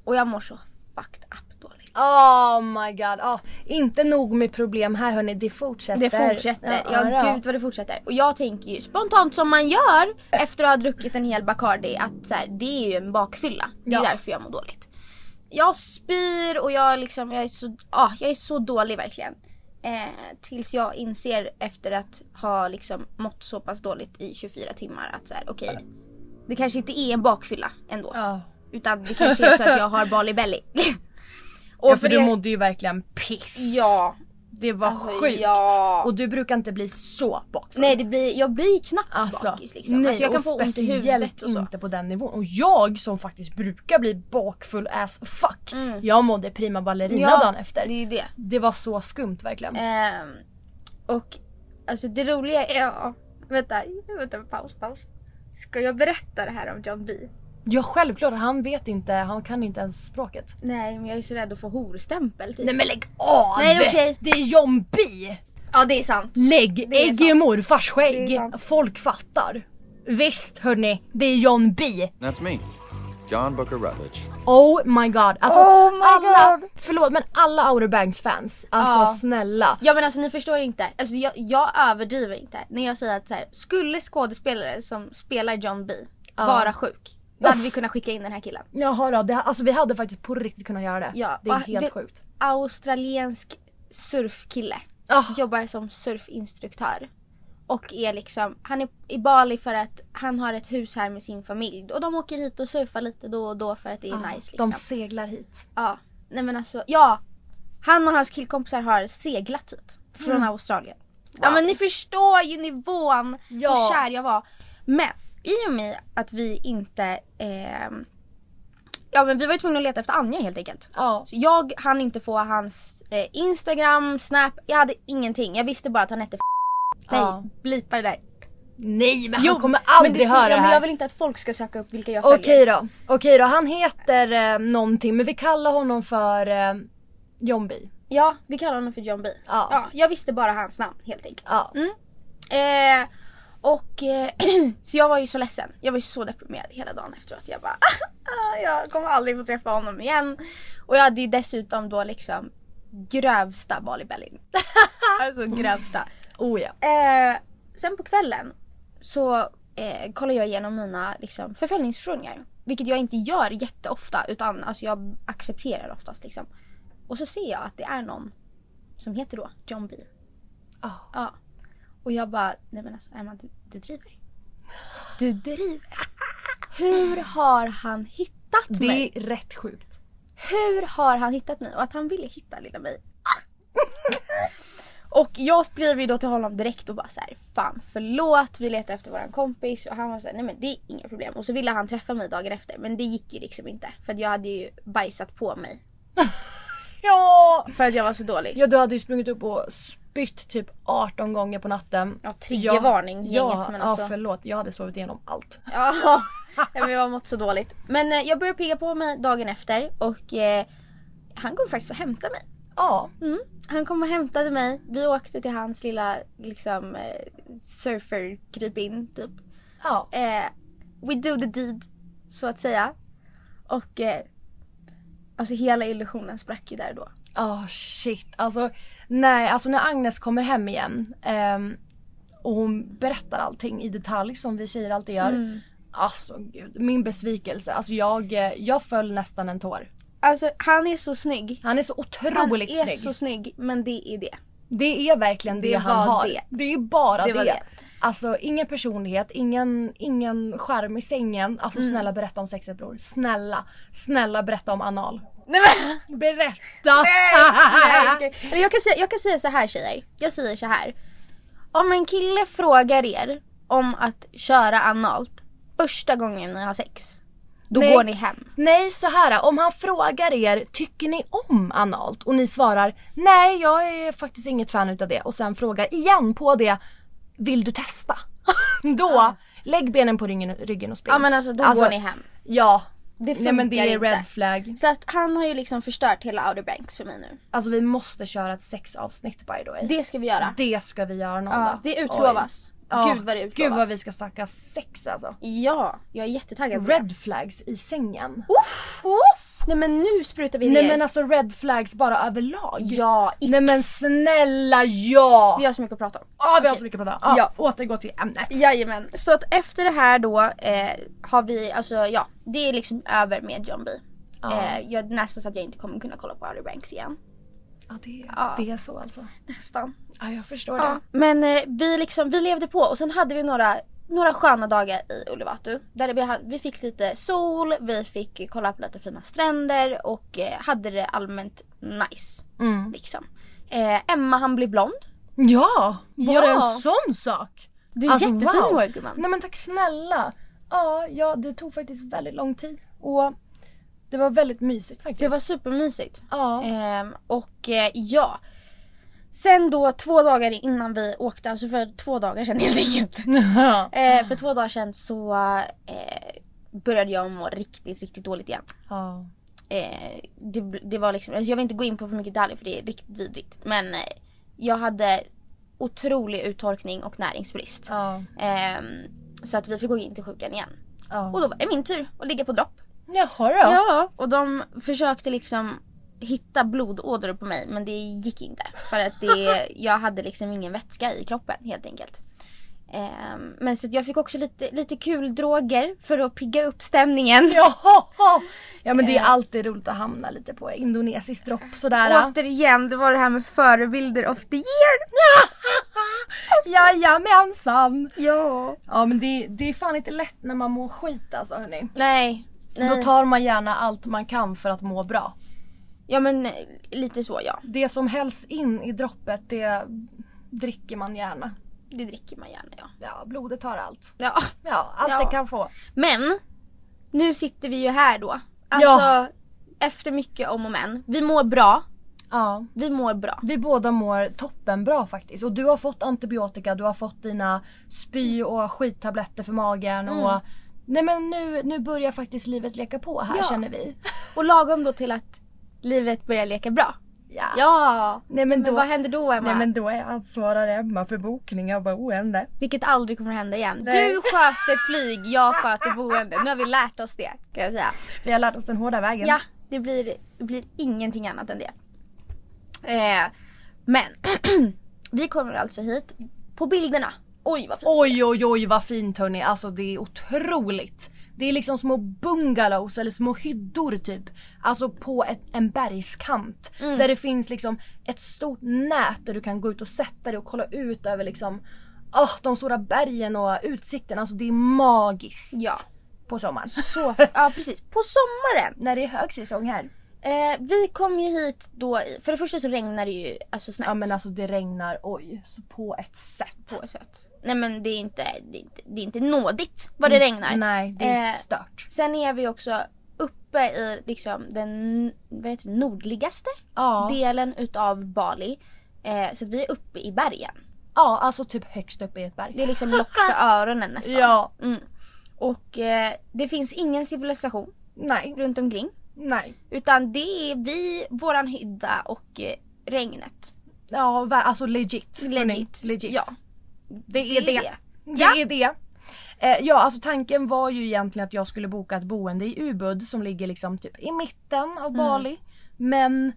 S2: och jag mår så fucked up dåligt.
S1: Oh my god. ja inte nog med problem här hörni, det fortsätter.
S2: Det fortsätter. Ja,
S1: då.
S2: gud vad det fortsätter. Och jag tänker ju spontant som man gör efter att ha druckit en hel Bacardi att så här, det är ju en bakfylla. Det är
S1: Ja.
S2: därför jag mår dåligt. Jag spyr och jag liksom, jag är så, ah, jag är så dålig verkligen. Eh, tills jag inser efter att ha liksom mått så pass dåligt i 24 timmar att så här, okej. det kanske inte är en bakfylla ändå. Utan det kanske är så att jag har Bali Belly. Och
S1: ja, för du
S2: er-
S1: mådde ju verkligen piss.
S2: Ja.
S1: Det var
S2: Alltså,
S1: sjukt.
S2: ja.
S1: Och du brukar inte bli så bakfull.
S2: Nej det blir, jag blir knappt
S1: Alltså,
S2: bakis liksom.
S1: nej,
S2: alltså jag kan
S1: och
S2: få ont i
S1: speciellt
S2: huvudet och så.
S1: inte på den nivån. Och jag som faktiskt brukar bli bakfull as fuck. Jag mådde prima ballerina
S2: Mm. Ja,
S1: dagen efter. Mm.
S2: Det är ju det.
S1: Det var så skumt verkligen.
S2: Ehm, och alltså det roliga är... Ja, vänta, vänta, paus, paus. Ska jag berätta det här om John B?
S1: Ja självklart, han vet inte, han kan inte ens språket.
S2: Nej men jag är så rädd att få horstämpel typ.
S1: Nej men lägg av!
S2: Nej, okej.
S1: Det är John B!
S2: Ja det är sant.
S1: Lägg
S2: Det är
S1: ägg i
S2: sant.
S1: morfars
S2: Det är
S1: skägg.
S2: sant.
S1: Folk fattar. Visst hörni, det är John B.
S9: That's me, John Booker Rutledge.
S1: Oh my god. Alltså
S2: Oh my
S1: alla,
S2: God.
S1: förlåt men alla Outer Banks fans. Alltså
S2: Ja.
S1: snälla.
S2: Ja men alltså ni förstår inte. Alltså, jag, jag överdriver inte. När jag säger att så här, skulle skådespelare som spelar John B vara sjuk. Då hade vi kunnat skicka in den här killen.
S1: Jaha då, det, alltså vi hade faktiskt på riktigt kunnat göra det.
S2: Ja,
S1: det är
S2: och
S1: helt
S2: det-
S1: sjukt. Ah.
S2: Australiensk surfkille. Jobbar som surfinstruktör. Och är liksom, han är i Bali för att han har ett hus här med sin familj. Och de åker hit och surfar lite då och då för att det är
S1: Ja,
S2: nice liksom.
S1: Ah, De seglar hit.
S2: Ja, nej men alltså, ja. Han och hans killkompisar har seglat hit. Från
S1: Mm.
S2: Australien. Ja men ni förstår ju nivån
S1: Ja.
S2: på kär jag var. Men i och med att vi inte ehm, Ja men vi var ju tvungna att leta efter Anja helt enkelt.
S1: Ja.
S2: Så jag hann inte få hans eh, Instagram, Snap, jag hade ingenting. Jag visste bara att han hette Nej,
S1: Ja.
S2: blipa det där.
S1: Nej men
S2: Jo,
S1: han kommer
S2: men
S1: aldrig
S2: det skulle-
S1: höra
S2: ja,
S1: det
S2: men
S1: här.
S2: jag vill inte att folk ska söka upp vilka jag följer.
S1: Okej då, okej då. Han heter eh, någonting men vi kallar honom för eh, John B.
S2: Ja, vi kallar honom för John B.
S1: Ja.
S2: Ja, jag visste bara hans namn helt enkelt.
S1: Ja.
S2: Mm. Eh, och eh, så jag var ju så ledsen. Jag var ju så deprimerad hela dagen efteråt. Jag bara "Ah, jag kommer aldrig få träffa honom igen. Och jag hade ju dessutom då liksom grövsta Bali Belly. alltså grövsta.
S1: Oh ja.
S2: Eh, sen på kvällen så eh, kollar jag igenom mina liksom, förföljningsförfrågningar. Vilket jag inte gör jätteofta utan alltså, jag accepterar oftast. Liksom. Och så ser jag att det är någon som heter då John B.
S1: Ah.
S2: Ja. Och jag bara, nej men alltså Emma du, du driver. Du driver. Hur har han hittat mig?
S1: Det är rätt sjukt.
S2: Hur har han hittat mig? Och att han ville hitta lilla mig. Ah! och jag skrev ju då till honom direkt och bara så här, fan förlåt vi letar efter våran kompis och han var så här, nej men det är inga problem. Och så ville han träffa mig dagen efter men det gick ju liksom inte för att jag hade ju bajsat på mig.
S1: Ja!
S2: För att jag var så dålig.
S1: Ja du hade ju sprungit upp och spytt typ 18 gånger på natten.
S2: Ja, triggervarning,
S1: ja,
S2: gänget, men
S1: ja,
S2: alltså.
S1: förlåt. Jag hade sovit igenom allt.
S2: Ja, ja, men jag har mått så dåligt. Men eh, jag började pigga på mig dagen efter och eh, han kom faktiskt och hämtade mig.
S1: Ja.
S2: Mm. Han kom och hämtade mig. Vi åkte till hans lilla liksom eh, surfer krypin typ.
S1: Ja.
S2: Eh, we do the deed så att säga. Och eh, alltså hela illusionen sprack ju där då.
S1: Ja Ah, shit. Alltså, nej, alltså när Agnes kommer hem igen ehm, och hon berättar allting i detalj som vi tjejer alltid gör.
S2: Mm.
S1: Alltså gud, min besvikelse. Alltså jag, eh, jag föll nästan en tår.
S2: Alltså han är så snygg.
S1: Han är så otroligt
S2: han är
S1: snygg.
S2: så snygg men det är det.
S1: Det är verkligen det,
S2: Det
S1: han
S2: var
S1: har.
S2: det.
S1: är bara
S2: Det
S1: det.
S2: var det.
S1: Alltså ingen personlighet, ingen, ingen skärm i sängen. Alltså
S2: Mm.
S1: snälla berätta om sexet bror. Snälla, snälla berätta om anal.
S2: Nej, men...
S1: Berätta!
S2: Nej, okej. Eller jag, kan säga, jag kan säga så här tjejer. Jag säger så här. Om en kille frågar er om att köra analt första gången ni har sex. Då
S1: Nej.
S2: går ni hem.
S1: Nej så här, om han frågar er tycker ni om analt och ni svarar nej jag är faktiskt inget fan utav det och sen frågar igen på det vill du testa? Då lägg benen på ryggen, ryggen och spring.
S2: Ja men alltså då går ni hem.
S1: Ja.
S2: Det
S1: Nej men det
S2: funkar
S1: är
S2: inte.
S1: red flag.
S2: Så att han har ju liksom förstört hela Outer Banks för mig nu.
S1: Alltså vi måste köra ett sexavsnitt by the way.
S2: Det ska vi göra.
S1: Det ska vi göra någon
S2: ja,
S1: dag.
S2: det utlovas.
S1: Oj. Ja.
S2: Gud vad det utlovas.
S1: Gud vad vi ska snacka sex alltså.
S2: Ja, jag är jättetaggad på det.
S1: Red flags i sängen.
S2: Uff, uff. Nej men nu sprutar vi
S1: Nej
S2: ner.
S1: men alltså red flags bara överlag.
S2: Ja,
S1: Nej men snälla ja!
S2: Vi har så mycket att prata om.
S1: Ja vi har så mycket att prata om. Ja,
S2: Ja.
S1: Återgå till ämnet.
S2: Jajamän. Så att efter det här då eh, har vi, alltså ja, det är liksom över med John B.
S1: Ja.
S2: Eh, jag, nästan så att jag inte kommer kunna kolla på Outer Banks igen.
S1: Ja, det,
S2: Ja.
S1: det är så alltså.
S2: Nästan.
S1: Ja jag förstår
S2: Ja,
S1: det.
S2: men eh, vi, liksom, vi levde på och sen hade vi några, några sköna dagar i Ulvatu. Där vi, ha- vi fick lite sol, vi fick eh, kolla på lite fina stränder och eh, hade det allmänt nice.
S1: Mm.
S2: Liksom. Eh, Emma han blir blond.
S1: Ja! Var
S2: Ja.
S1: det en sån sak?
S2: Du är
S1: Alltså,
S2: jättefin i håret, gumman.
S1: Nej men tack snälla. Ja, ja det tog faktiskt väldigt lång tid och det var väldigt mysigt faktiskt.
S2: Det var supermysigt.
S1: Ja.
S2: Ehm, och eh, ja. Sen då två dagar innan vi åkte, alltså för två dagar sedan helt enkelt. Eh, för två dagar sedan så eh, började jag må riktigt, riktigt dåligt igen.
S1: ja.
S2: Eh, det, det var liksom, alltså jag vill inte gå in på för mycket detaljer för det är riktigt vidrigt. Men eh, jag hade otrolig uttorkning och näringsbrist.
S1: Ja.
S2: Ehm, så att vi fick gå in till sjukan igen.
S1: Ja.
S2: Och då var det min tur att ligga på dropp.
S1: Jaha då.
S2: Ja, och de försökte liksom hitta blodådror på mig men det gick inte. För att det, jag hade liksom ingen vätska i kroppen helt enkelt. Ehm, men så att jag fick också lite, lite kul droger för att pigga upp stämningen.
S1: Jaha! Ja men det är
S2: Eh.
S1: alltid roligt att hamna lite på indonesisk dropp sådär.
S2: Återigen, det var det här med förebilder of the year.
S1: Jajamensan!
S2: Ja.
S1: Ja men det, det är fan inte lätt när man mår skit alltså hörni.
S2: Nej. nej.
S1: Då tar man gärna allt man kan för att må bra.
S2: Ja men eh, lite så ja.
S1: Det som hälls in i droppet det dricker man gärna.
S2: Det dricker man gärna ja.
S1: Ja, blodet tar allt.
S2: ja.
S1: Ja, allt
S2: Ja.
S1: det kan få.
S2: Men nu sitter vi ju här då. Alltså
S1: Ja.
S2: efter mycket om och men. Vi mår bra.
S1: Ja.
S2: Vi mår bra.
S1: Vi båda mår toppenbra faktiskt. Och du har fått antibiotika, du har fått dina spy och skittabletter för magen och Nej men nu, nu börjar faktiskt livet leka på här
S2: Mm. Ja.
S1: känner vi.
S2: Och lagom då till att livet börjar leka bra.
S1: Ja.
S2: Ja!
S1: Nej men,
S2: Men
S1: då,
S2: vad händer då Emma?
S1: Nej men då är ansvarar Emma för bokningar och boende.
S2: Vilket aldrig kommer hända igen.
S1: Nej.
S2: Du sköter flyg, jag sköter boende. Nu har vi lärt oss det kan jag säga.
S1: Vi har lärt oss den hårda vägen.
S2: Ja, det blir, det blir ingenting annat än det. Eh, men vi kommer alltså hit på bilderna. Oj vad fint.
S1: Oj oj oj vad fint hörni, alltså det är otroligt. Det är liksom små bungalows eller små hyddor typ. Alltså på ett, en bergskant.
S2: Mm.
S1: Där det finns liksom ett stort nät där du kan gå ut och sätta dig och kolla ut över liksom ah de stora bergen och utsikten. Alltså det är magiskt.
S2: Ja.
S1: På sommaren.
S2: Så, ja precis. På sommaren.
S1: När det är högsäsong här.
S2: Eh, vi kom ju hit då, i- för det första så regnar det ju alltså snabbt.
S1: Ja men alltså det regnar, oj, så på ett sätt.
S2: på ett sätt. Nej men det är inte, det är inte, det är inte nådigt vad det regnar.
S1: Mm, Nej, det är
S2: Eh,
S1: stört.
S2: Sen är vi också uppe i liksom den vad heter det, nordligaste
S1: Ja.
S2: delen utav Bali. Eh, så att vi är uppe i bergen.
S1: ja, alltså typ högst upp i ett berg.
S2: Det är liksom lock för öronen nästan.
S1: Ja.
S2: Mm. Och eh, det finns ingen civilisation
S1: Nej,
S2: runt omkring.
S1: nej.
S2: Utan det är vi, våran hydda och eh, regnet.
S1: Ja, va- alltså legit. hörni.
S2: Legit.
S1: legit.
S2: Ja.
S1: Det är det.
S2: Det är
S1: Det,
S2: Ja.
S1: är det. Eh, ja, alltså tanken var ju egentligen att jag skulle boka ett boende i Ubud som ligger liksom typ i mitten av Bali. Men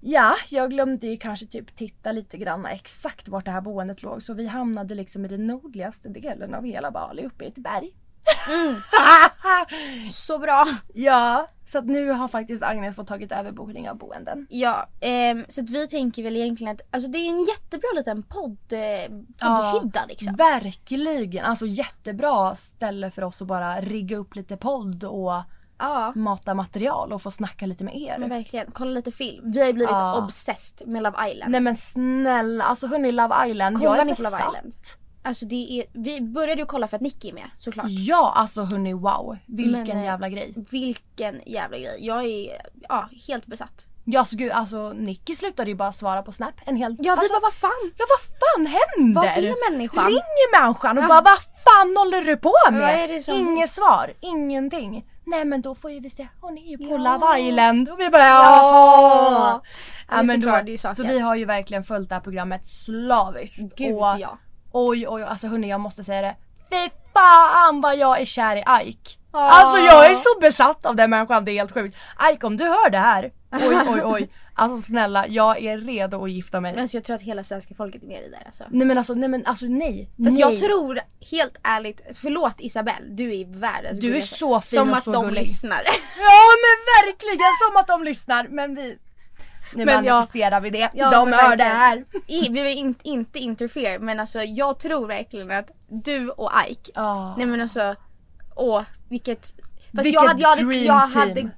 S1: ja, jag glömde ju kanske typ titta lite grann exakt vart det här boendet låg så vi hamnade liksom i den nordligaste delen av hela Bali uppe i ett berg.
S2: Så bra.
S1: Ja, så att nu har faktiskt Agnes fått tagit över bokning av boenden.
S2: Ja, ehm, så att vi tänker väl egentligen att alltså det är en jättebra liten podd, eh,
S1: Ja,
S2: poddhydda liksom.
S1: Verkligen! Alltså jättebra ställe för oss att bara rigga upp lite podd och
S2: Ja,
S1: mata material och få snacka lite med er.
S2: men verkligen. Kolla lite film. Vi har ju blivit
S1: Ja.
S2: obsessed med Love Island.
S1: Nej men snälla, alltså hörni Love Island,
S2: Kollar
S1: jag är
S2: ni på Love
S1: besatt.
S2: Island? Alltså det är, vi började ju kolla för att Nicky är med såklart.
S1: Ja alltså hörni wow, vilken
S2: Men, eh,
S1: jävla grej.
S2: Vilken jävla grej. Jag är ja, helt besatt.
S1: Ja alltså gud alltså Nicky slutade ju bara svara på Snap en hel...
S2: Ja vi
S1: alltså,
S2: bara vad fan.
S1: ja vad fan händer?
S2: Vad är människan?
S1: Ringer människan och
S2: Ja.
S1: bara vad fan håller du på med?
S2: Vad är det som-
S1: Inget svar, ingenting. Nej men då får ju vi se, hon är ju på
S2: Ja.
S1: Love Island och vi bara
S2: Jaha.
S1: ja.
S2: Det
S1: men
S2: förklarar ju saker.
S1: så vi har ju verkligen följt det här programmet slaviskt.
S2: Gud
S1: och,
S2: ja.
S1: Oj oj oj, alltså hörni jag måste säga det. Fy fan vad jag är kär i Ike. Alltså jag är så besatt av den människan, det är helt sjukt. Ike om du hör det här, oj oj oj. Alltså snälla, jag är redo att gifta mig.
S2: Men alltså, jag tror att hela svenska folket är med i det där alltså.
S1: Nej men alltså nej men alltså nej.
S2: Fast
S1: nej.
S2: jag tror helt ärligt, förlåt Isabelle, du är världens
S1: Du är
S2: gulligaste.
S1: så fin
S2: Som
S1: och
S2: att
S1: så
S2: de
S1: gullig.
S2: lyssnar.
S1: Ja men verkligen som att de lyssnar men vi Nu
S2: Men jag-
S1: manifesterar vi det. de hör det här.
S2: I, vi vill in, inte interfere men alltså jag tror verkligen att du och Ike, nej men alltså, åh vilket... Fast
S1: Vilket
S2: jag hade, jag hade,
S1: dream
S2: jag hade,
S1: team.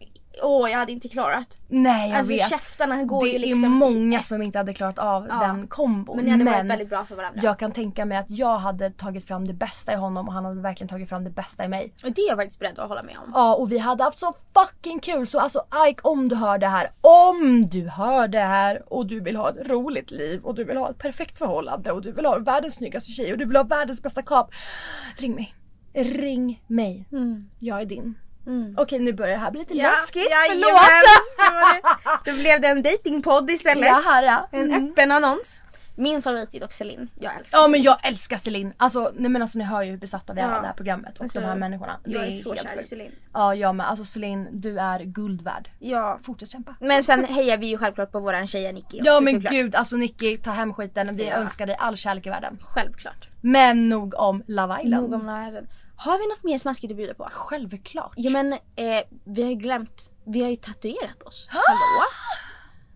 S2: åh jag hade inte klarat.
S1: Nej jag
S2: alltså
S1: vet.
S2: käftarna går
S1: det
S2: ju
S1: är
S2: liksom
S1: många som inte hade klarat av
S2: Ja.
S1: den kombon.
S2: Men ni hade varit väldigt bra för varandra.
S1: Jag kan tänka mig att jag hade tagit fram det bästa i honom och han hade verkligen tagit fram det bästa i mig.
S2: Och det är jag faktiskt beredd att hålla med om.
S1: Ja och vi hade haft så fucking kul så alltså Ike om du hör det här, om du hör det här och du vill ha ett roligt liv och du vill ha ett perfekt förhållande och du vill ha världens snyggaste tjej och du vill ha världens bästa kap. Ring mig. Ring mig.
S2: Mm.
S1: Jag är din. Okej nu börjar det här bli lite läskigt,
S2: jajamän. Det var det. Då blev det en datingpodd istället.
S1: Ja, här, ja.
S2: En
S1: Mm.
S2: öppen annons. Min favorit är dock Celine. Jag älskar
S1: Ja
S2: Celine.
S1: men jag älskar Celine. Alltså, nej, men alltså ni hör ju hur besatta vi är av det här programmet och
S2: Alltså,
S1: de här människorna. Det
S2: jag är så
S1: helt
S2: kär i
S1: sjukt.
S2: Celine.
S1: Ja jag med. Alltså Celine du är guld värd.
S2: Ja.
S1: Fortsätt kämpa.
S2: Men sen hejar vi ju självklart på våran tjej Nicky
S1: Ja
S2: också,
S1: men
S2: såklart.
S1: gud alltså Nicky ta hem skiten. Vi
S2: Ja.
S1: önskar dig all kärlek i världen.
S2: Självklart.
S1: Men nog om Love Island.
S2: Nog om världen. Har vi något mer smaskigt att bjuda på?
S1: Självklart.
S2: Ja men eh, vi har ju glömt, vi har ju tatuerat oss. Hallå?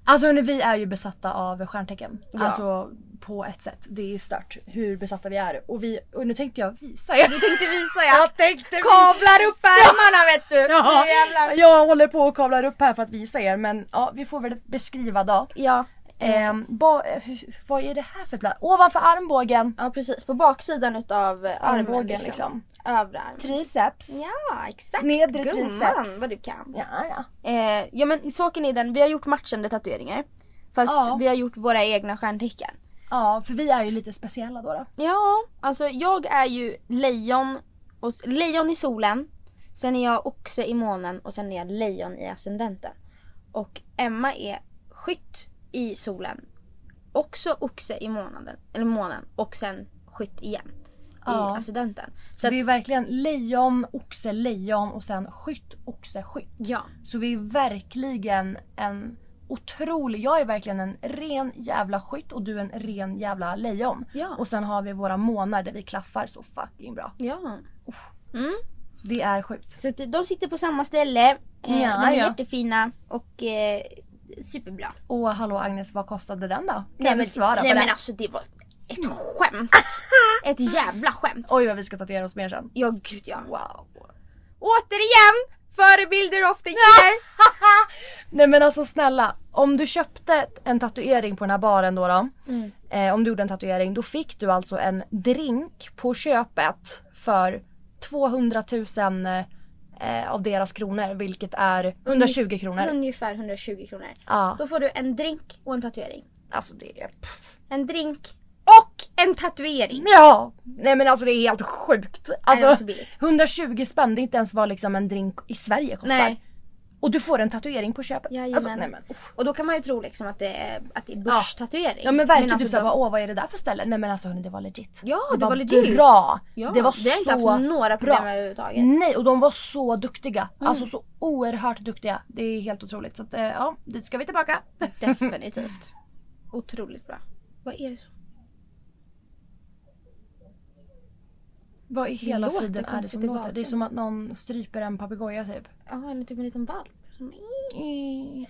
S1: Alltså hörni, vi är ju besatta av stjärntecken.
S2: Ja.
S1: Alltså på ett sätt. Det är stört hur besatta vi är. Och, vi, och nu tänkte jag visa er.
S2: Du tänkte visa ja.
S1: Jag tänkte visa.
S2: Kavlar upp ärmarna vet du!
S1: Ja,
S2: Nu jävlar.
S1: jag håller på och kavlar upp här för att visa er men ja, vi får väl beskriva då.
S2: Ja. Mm.
S1: Ehm, ba, eh, hur- vad är det här för plats? Ovanför armbågen.
S2: Ja precis, på baksidan utav eh, armen
S1: Armbågen
S2: liksom.
S1: liksom.
S2: Övre armen.
S1: Triceps.
S2: Ja exakt!
S1: Nedre triceps.
S2: Gumman vad du kan.
S1: Ja, ja.
S2: Eh, ja men saken är den, vi har gjort matchande tatueringar. Fast
S1: Ja.
S2: vi har gjort våra egna stjärntecken.
S1: ja, för vi är ju lite speciella då. då.
S2: Ja, alltså jag är ju lejon, och, s- lejon i solen. Sen är jag oxe i månen och sen är jag lejon i ascendenten. Och Emma är skytt i solen. Också oxe i månaden, eller månen och sen skytt igen.
S1: Ja.
S2: I ascendenten.
S1: Så det är verkligen lejon, oxe, lejon och sen skytt, oxe, skytt.
S2: Ja.
S1: Så vi är verkligen en otrolig, jag är verkligen en ren jävla skytt och du är en ren jävla lejon.
S2: Ja.
S1: Och sen har vi våra månar där vi klaffar så fucking bra.
S2: Ja. Mm.
S1: Det är sjukt.
S2: Så att de sitter på samma ställe. Eh,
S1: Ja,
S2: de är
S1: ja.
S2: jättefina och eh, superbra.
S1: Och hallå Agnes, vad kostade den då? Kan
S2: Nej
S1: vi
S2: men,
S1: svara på
S2: nej,
S1: det?
S2: men alltså det var ett skämt. ett jävla skämt.
S1: Oj vad vi ska tatuera oss mer sen.
S2: Ja gud ja.
S1: Wow.
S2: Återigen! Förebilder ofta ger.
S1: Nej men alltså snälla, om du köpte en tatuering på den här baren då, då
S2: Mm.
S1: eh, om du gjorde en tatuering, då fick du alltså en drink på köpet för 200 000 eh, av deras kronor vilket är 120 kronor.
S2: Ungefär 120 kronor.
S1: Ja.
S2: Då får du en drink och en tatuering.
S1: Alltså det är... pff.
S2: En drink och en tatuering.
S1: Ja! Nej men alltså det är helt sjukt.
S2: det var
S1: Alltså
S2: så billigt.
S1: 120 spänn, det är inte ens vad liksom en drink i Sverige kostar.
S2: Nej.
S1: Och du får en tatuering på köpet.
S2: Jajamän.
S1: Alltså, nej men, uff.
S2: Och då kan man ju tro liksom att det är, att det är börstatuering.
S1: Ja men verkligen
S2: alltså
S1: typ såhär,
S2: de-
S1: bara, åh vad är det där för ställe? Nej men alltså hörni det var legit.
S2: Ja, det var legit.
S1: bra.
S2: Ja,
S1: det var
S2: vi har inte
S1: så
S2: haft några problem
S1: bra.
S2: överhuvudtaget. Mm.
S1: Nej och de var så duktiga. Alltså så oerhört duktiga. Det är helt otroligt. Så att, eh, ja, dit ska vi tillbaka.
S2: Definitivt. Otroligt bra. Vad är det som...
S1: Vad i hela
S2: låter
S1: friden är det
S2: konstigt
S1: som
S2: i
S1: låter?
S2: bakgrunden.
S1: Det är som att någon stryper en papegoja typ.
S2: Ja, eller typ en liten valp. Som...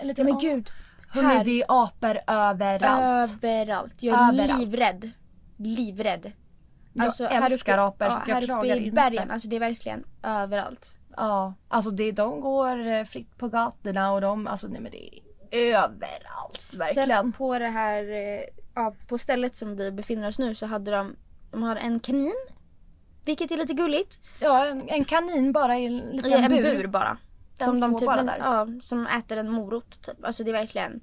S1: Eller typ,
S2: Mm. Ja, men
S1: ah.
S2: gud.
S1: Hörni
S2: här.
S1: det är apor överallt.
S2: Överallt. Jag är
S1: Överallt.
S2: livrädd. Livrädd. Alltså,
S1: Jag älskar apor, så jag
S2: här
S1: klagar
S2: uppe i
S1: inte.
S2: bergen, alltså det är verkligen överallt.
S1: Ja, alltså det, de går eh, fritt på gatorna och de, alltså nej men det är överallt verkligen.
S2: Sen på det här, eh, ja, på stället som vi befinner oss nu så hade de, de har en kanin. Vilket är lite gulligt.
S1: Ja, en, en kanin bara i en liten
S2: I en
S1: bur.
S2: bur, bara.
S1: Den står bara där.
S2: Ja, som äter en morot typ. Alltså det är verkligen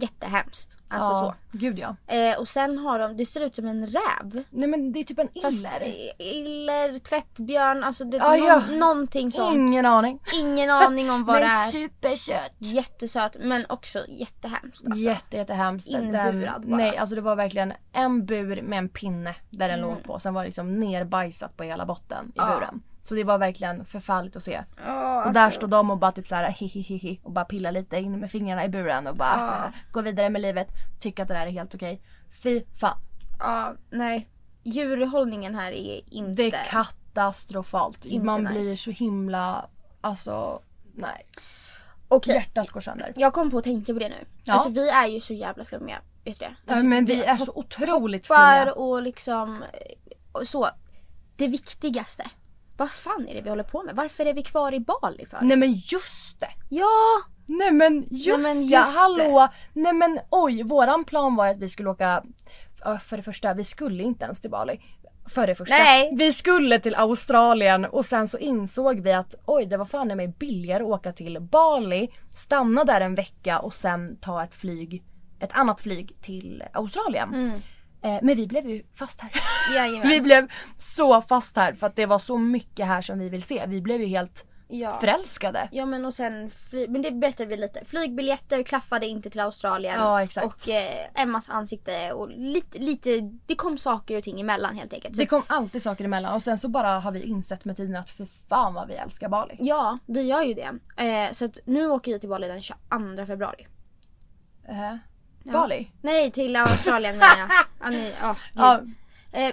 S2: jättehemskt. Alltså
S1: ja, gud ja.
S2: så. Eh, och sen har de, det ser ut som en räv.
S1: Nej men det är typ en
S2: Fast
S1: iller.
S2: eh, iller, tvättbjörn, alltså det,
S1: Ja, ja.
S2: någon, någonting sånt.
S1: Ingen aning.
S2: Ingen aning om vad det
S1: men
S2: är.
S1: supersött.
S2: Jättesöt men också jättehemskt. Alltså.
S1: Jätte, jättehemskt. Den-
S2: Inburad bara.
S1: Nej alltså det var verkligen en bur med en pinne där den låg på. Sen var det liksom nerbajsat på hela botten i
S2: Mm. Ja.
S1: buren. Så det var verkligen förfärligt att se.
S2: Ja,
S1: Och där
S2: alltså.
S1: står de och bara typ såhär hihihihi och bara pillar lite in med fingrarna i buren och bara
S2: Ja.
S1: eh, går vidare med livet. Tycker att det där är helt okej. Fy fan.
S2: Ja, nej. Djurhållningen här är inte...
S1: Det är katastrofalt.
S2: Inte
S1: Man
S2: nice.
S1: blir så himla, alltså nej.
S2: Okej.
S1: Hjärtat går sönder.
S2: Jag kom på att tänka på det nu.
S1: Ja.
S2: Alltså vi är ju så jävla flummiga. Vet du det?
S1: Ja,
S2: Alltså,
S1: men vi är så otroligt flummiga.
S2: Hoppar och liksom eh, och så. Det viktigaste. Vad fan är det vi håller på med? Varför är vi kvar i Bali för?
S1: Nej men just det!
S2: Ja!
S1: Nej men
S2: Nej,
S1: just,
S2: men
S1: ja,
S2: just
S1: hallå! Nej men oj, våran plan var att vi skulle åka, ja, för det första vi skulle inte ens till Bali. För det första.
S2: Nej.
S1: Vi skulle till Australien och sen så insåg vi att oj det var fan i mig billigare att åka till Bali, stanna där en vecka och sen ta ett flyg, ett annat flyg till Australien. Eh, Men vi blev ju fast här.
S2: Jajamän.
S1: Vi blev så fast här för att det var så mycket här som vi vill se. Vi blev ju helt
S2: Ja.
S1: förälskade.
S2: Ja men och sen, fly- men det berättade vi lite. Flygbiljetter klaffade inte till Australien.
S1: Ja, exakt.
S2: Och eh, Emmas ansikte och lite, lite, det kom saker och ting emellan helt enkelt. Så
S1: Det kom alltid saker emellan och sen så bara har vi insett med tiden att för fan vad vi älskar Bali.
S2: Ja, vi gör ju det. Eh, så att nu åker vi till Bali den 22 februari.
S1: Eh,
S2: Ja.
S1: Bali?
S2: Nej, till Australien menar jag. Ja, ni, ja,
S1: Ja.
S2: gud.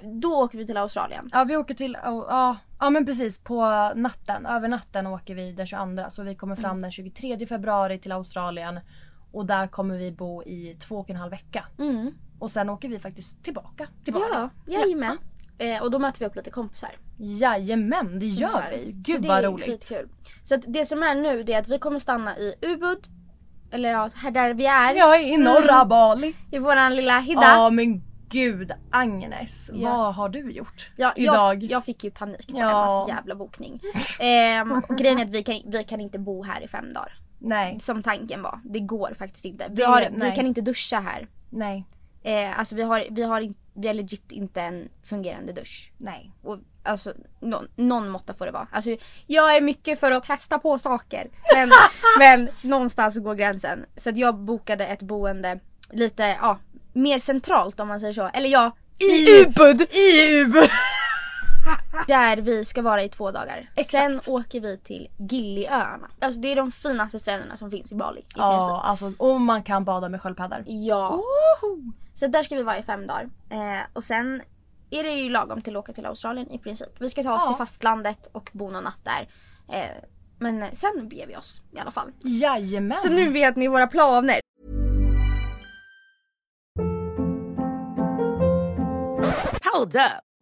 S2: eh, då åker vi till Australien.
S1: Ja vi åker till, ja ja ja, men precis på natten, över natten åker vi den 22 så vi kommer fram
S2: Mm.
S1: den 23 februari till Australien och där kommer vi bo i två och en halv vecka.
S2: Mm.
S1: Och sen åker vi faktiskt tillbaka till Bali.
S2: Ja, jajamän. Eh, och då möter vi upp lite kompisar.
S1: Jajamän det gör vi!
S2: så
S1: Gud
S2: det
S1: vad
S2: är
S1: roligt.
S2: Skitkul. Så att det som är nu det är att vi kommer stanna i Ubud. Eller ja, här där vi är.
S1: Ja i norra
S2: Mm,
S1: Bali.
S2: I våran lilla hydda.
S1: Ja men gud Agnes,
S2: Ja.
S1: vad har du gjort
S2: Ja,
S1: idag?
S2: Jag, jag fick ju panik på
S1: Ja.
S2: Emmas jävla bokning. Ehm, och grejen är att vi kan, vi kan inte bo här i fem dagar.
S1: Nej,
S2: Som tanken var. Det går faktiskt inte. Vi,
S1: Det-
S2: har, vi
S1: nej.
S2: kan inte duscha här.
S1: nej,
S2: Eh, alltså vi har, vi, har, in- vi har legit inte en fungerande dusch.
S1: nej.
S2: Och, alltså någon, någon måtta får det vara. Alltså, jag är mycket för att testa på saker. Men, men någonstans går gränsen. Så att jag bokade ett boende lite ja, mer centralt om man säger så. Eller ja, i,
S1: Ubud! I Ubud!
S2: Där vi ska vara i två dagar.
S1: Exakt.
S2: Sen åker vi till Gilliöarna. Alltså det är de finaste stränderna som finns i Bali. I
S1: Ja,
S2: princip.
S1: alltså och man kan bada med sköldpaddor.
S2: Ja. Så där ska vi vara i fem dagar. Eh, och sen är det ju lagom till att åka till Australien i princip. Vi ska ta oss
S1: Ja.
S2: till fastlandet och bo någon natt där. Eh, men sen beger vi oss i alla fall.
S1: Jajamän!
S2: Så nu vet ni våra planer.
S10: Hold up.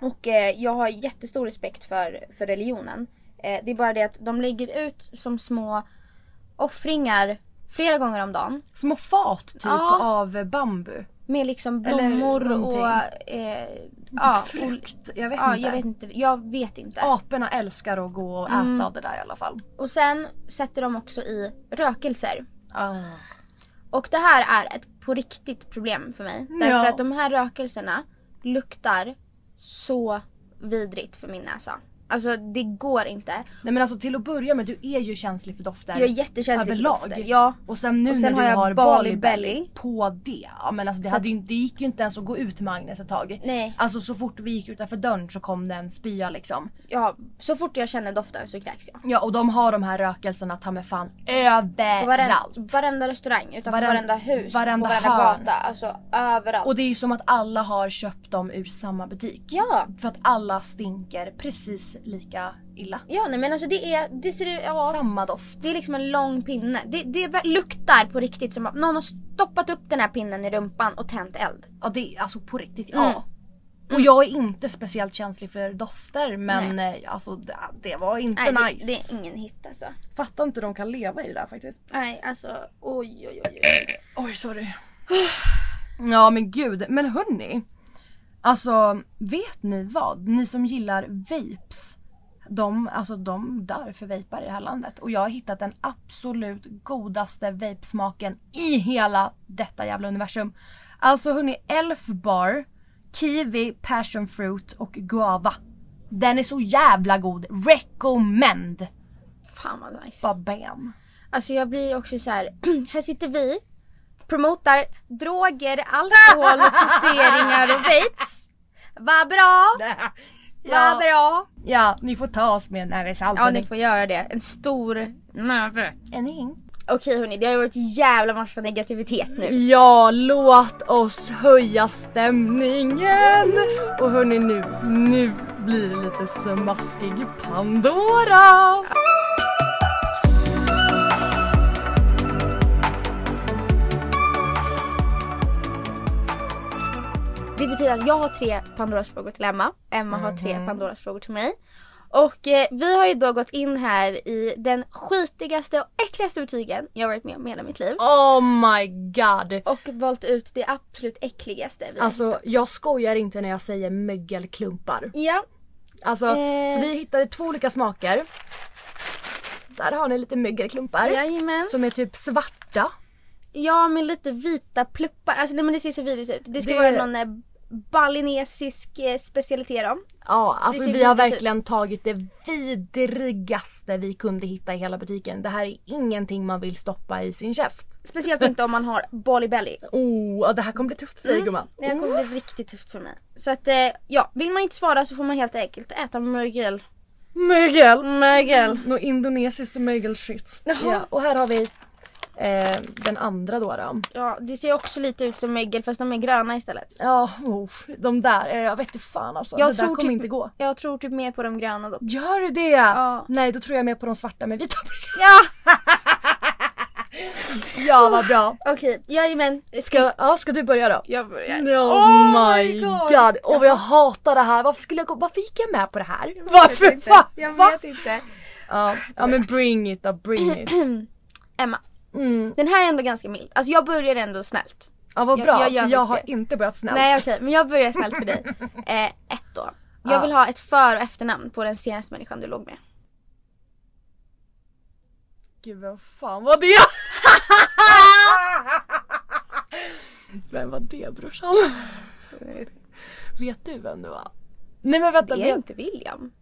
S2: Och eh, jag har jättestor respekt för, för religionen. Eh, det är bara det att de lägger ut som små offringar flera gånger om dagen.
S1: Små fat typ
S2: Ja.
S1: av bambu.
S2: Med liksom
S1: Eller
S2: blommor
S1: någonting.
S2: och... Eh,
S1: Typ frukt, jag vet
S2: ja,
S1: inte.
S2: Jag vet inte. Jag vet inte.
S1: Aporna älskar att gå och äta
S2: Mm.
S1: av det där i alla fall.
S2: Och sen sätter de också i rökelser.
S1: Ah.
S2: Och det här är ett på riktigt problem för mig. Därför
S1: Ja.
S2: att de här rökelserna luktar så vidrigt för min näsa. Alltså det går inte.
S1: Nej men alltså till att börja med, du är ju känslig för dofter.
S2: Jag är jättekänslig för
S1: överlag.
S2: dofter, ja.
S1: Och sen nu
S2: Och sen
S1: när
S2: har
S1: du
S2: jag
S1: har
S2: Bali
S1: Bali Belly
S2: Belly.
S1: på det. Ja men alltså det,
S2: Så
S1: hade
S2: att-
S1: ju, inte- det gick ju inte ens att gå ut med Agnes ett tag.
S2: Nej.
S1: Alltså så fort vi gick utanför dörren så kom det en spya liksom.
S2: Ja, så fort jag känner doften så kräks jag.
S1: Ja och de har de här rökelserna ta mig fan
S2: På varenda,
S1: överallt.
S2: varenda restaurang, utanför
S1: Varen-
S2: varenda hus,
S1: varenda
S2: på varenda
S1: hörn.
S2: gata. Alltså överallt.
S1: Och det är ju som att alla har köpt dem ur samma butik.
S2: Ja.
S1: För att alla stinker precis lika illa.
S2: Ja nej men alltså det är, det ser ut, ja.
S1: Samma doft.
S2: Det är liksom en lång pinne. Det, det vä- luktar på riktigt som att någon har stoppat upp den här pinnen i rumpan och tänt eld.
S1: Ja det är alltså på riktigt,
S2: Mm.
S1: ja. Och jag är inte speciellt känslig för dofter men eh, alltså det, det var inte
S2: Nej,
S1: nice.
S2: det, det är ingen hit alltså.
S1: Fattar inte de kan leva i det där faktiskt.
S2: Nej alltså oj oj oj.
S1: Oj sorry. Ja men gud, men hörni. Alltså vet ni vad? Ni som gillar vapes. De, alltså de dör för vapar i det här landet och jag har hittat den absolut godaste vapesmaken i hela detta jävla universum. Alltså hörni, Elf Bar, Kiwi, Passion Fruit och Guava. Den är så jävla god, recommend!
S2: Fan vad nice.
S1: Bara bam.
S2: Alltså jag blir också så här. här sitter vi, promotar droger, alkohol, poteringar och vapes. Vad bra!
S1: Ja.
S2: Vad bra!
S1: Ja, ni får ta oss med när vi saltar.
S2: Ja ni får göra det. En stor näve.
S1: En hink.
S2: Okej hörni, det har ju varit en jävla massa negativitet nu.
S1: Ja, låt oss höja stämningen! Och hörni nu, nu blir det lite smaskig Pandora!
S2: Det betyder att jag har tre Pandoras frågor till Emma. Emma har tre Pandoras frågor till mig. Och eh, vi har ju då gått in här i den skitigaste och äckligaste butiken jag har varit med om i hela mitt liv.
S1: Oh my god!
S2: Och valt ut det absolut äckligaste. Vi har
S1: Alltså jag skojar inte när jag säger mögelklumpar.
S2: Ja.
S1: Alltså,
S2: Eh.
S1: så vi hittade två olika smaker. Där har ni lite mögelklumpar.
S2: Jajamän.
S1: Som är typ svarta.
S2: Ja men lite vita pluppar. Alltså nej men det ser så vidrigt ut. Det ska
S1: Det-
S2: vara någon eh, balinesisk eh, specialitet om.
S1: Ja, alltså
S2: Det ser
S1: vi har
S2: vidrigt ut.
S1: verkligen tagit det vidrigaste vi kunde hitta i hela butiken. Det här är ingenting man vill stoppa i sin käft.
S2: Speciellt inte om man har Bali Belly.
S1: Oh, ja, det här kommer bli tufft för dig gumman.
S2: Det här kommer bli riktigt tufft för mig. Så att eh, ja, vill man inte svara så får man helt enkelt äta mögel.
S1: Mögel!
S2: Mögel.
S1: Något indonesiskt mögelshit. Ja, och här har vi eh, den andra då. då.
S2: Ja, det ser också lite ut som mögel fast de är gröna istället.
S1: Ja, oh, de där. eh, Jag vet inte fan alltså. det där kommer
S2: typ,
S1: inte gå.
S2: Jag tror typ mer på de gröna dock.
S1: Gör du det?
S2: Ja.
S1: Nej, då tror jag mer på de svarta med vita prickar.
S2: Ja!
S1: Ja, vad bra.
S2: Okej, jajamän.
S1: Ska, ja, ska du börja då?
S2: Jag börjar.
S1: Oh my god! Åh vad jag hatar det här. Varför skulle jag gå? Varför gick jag med på det här?
S2: Jag vet
S1: Varför?
S2: inte.
S1: Va?
S2: Jag
S1: Va?
S2: vet inte.
S1: Ja, ja men bring it då, bring it.
S2: Emma. Den här är ändå ganska mild. Alltså jag börjar ändå snällt.
S1: Ja vad
S2: Jag-
S1: bra,
S2: jag gör
S1: för jag
S2: faktiskt
S1: har inte börjat snällt.
S2: Nej okej, men jag börjar snällt för dig. Eh, ett då. Jag
S1: Ja.
S2: vill ha ett för och efternamn på den senaste människan du låg med.
S1: Gud vem fan var det? vem var det brorsan? vet du vem det var? Nej men vänta.
S2: Det
S1: vet-
S2: är inte William.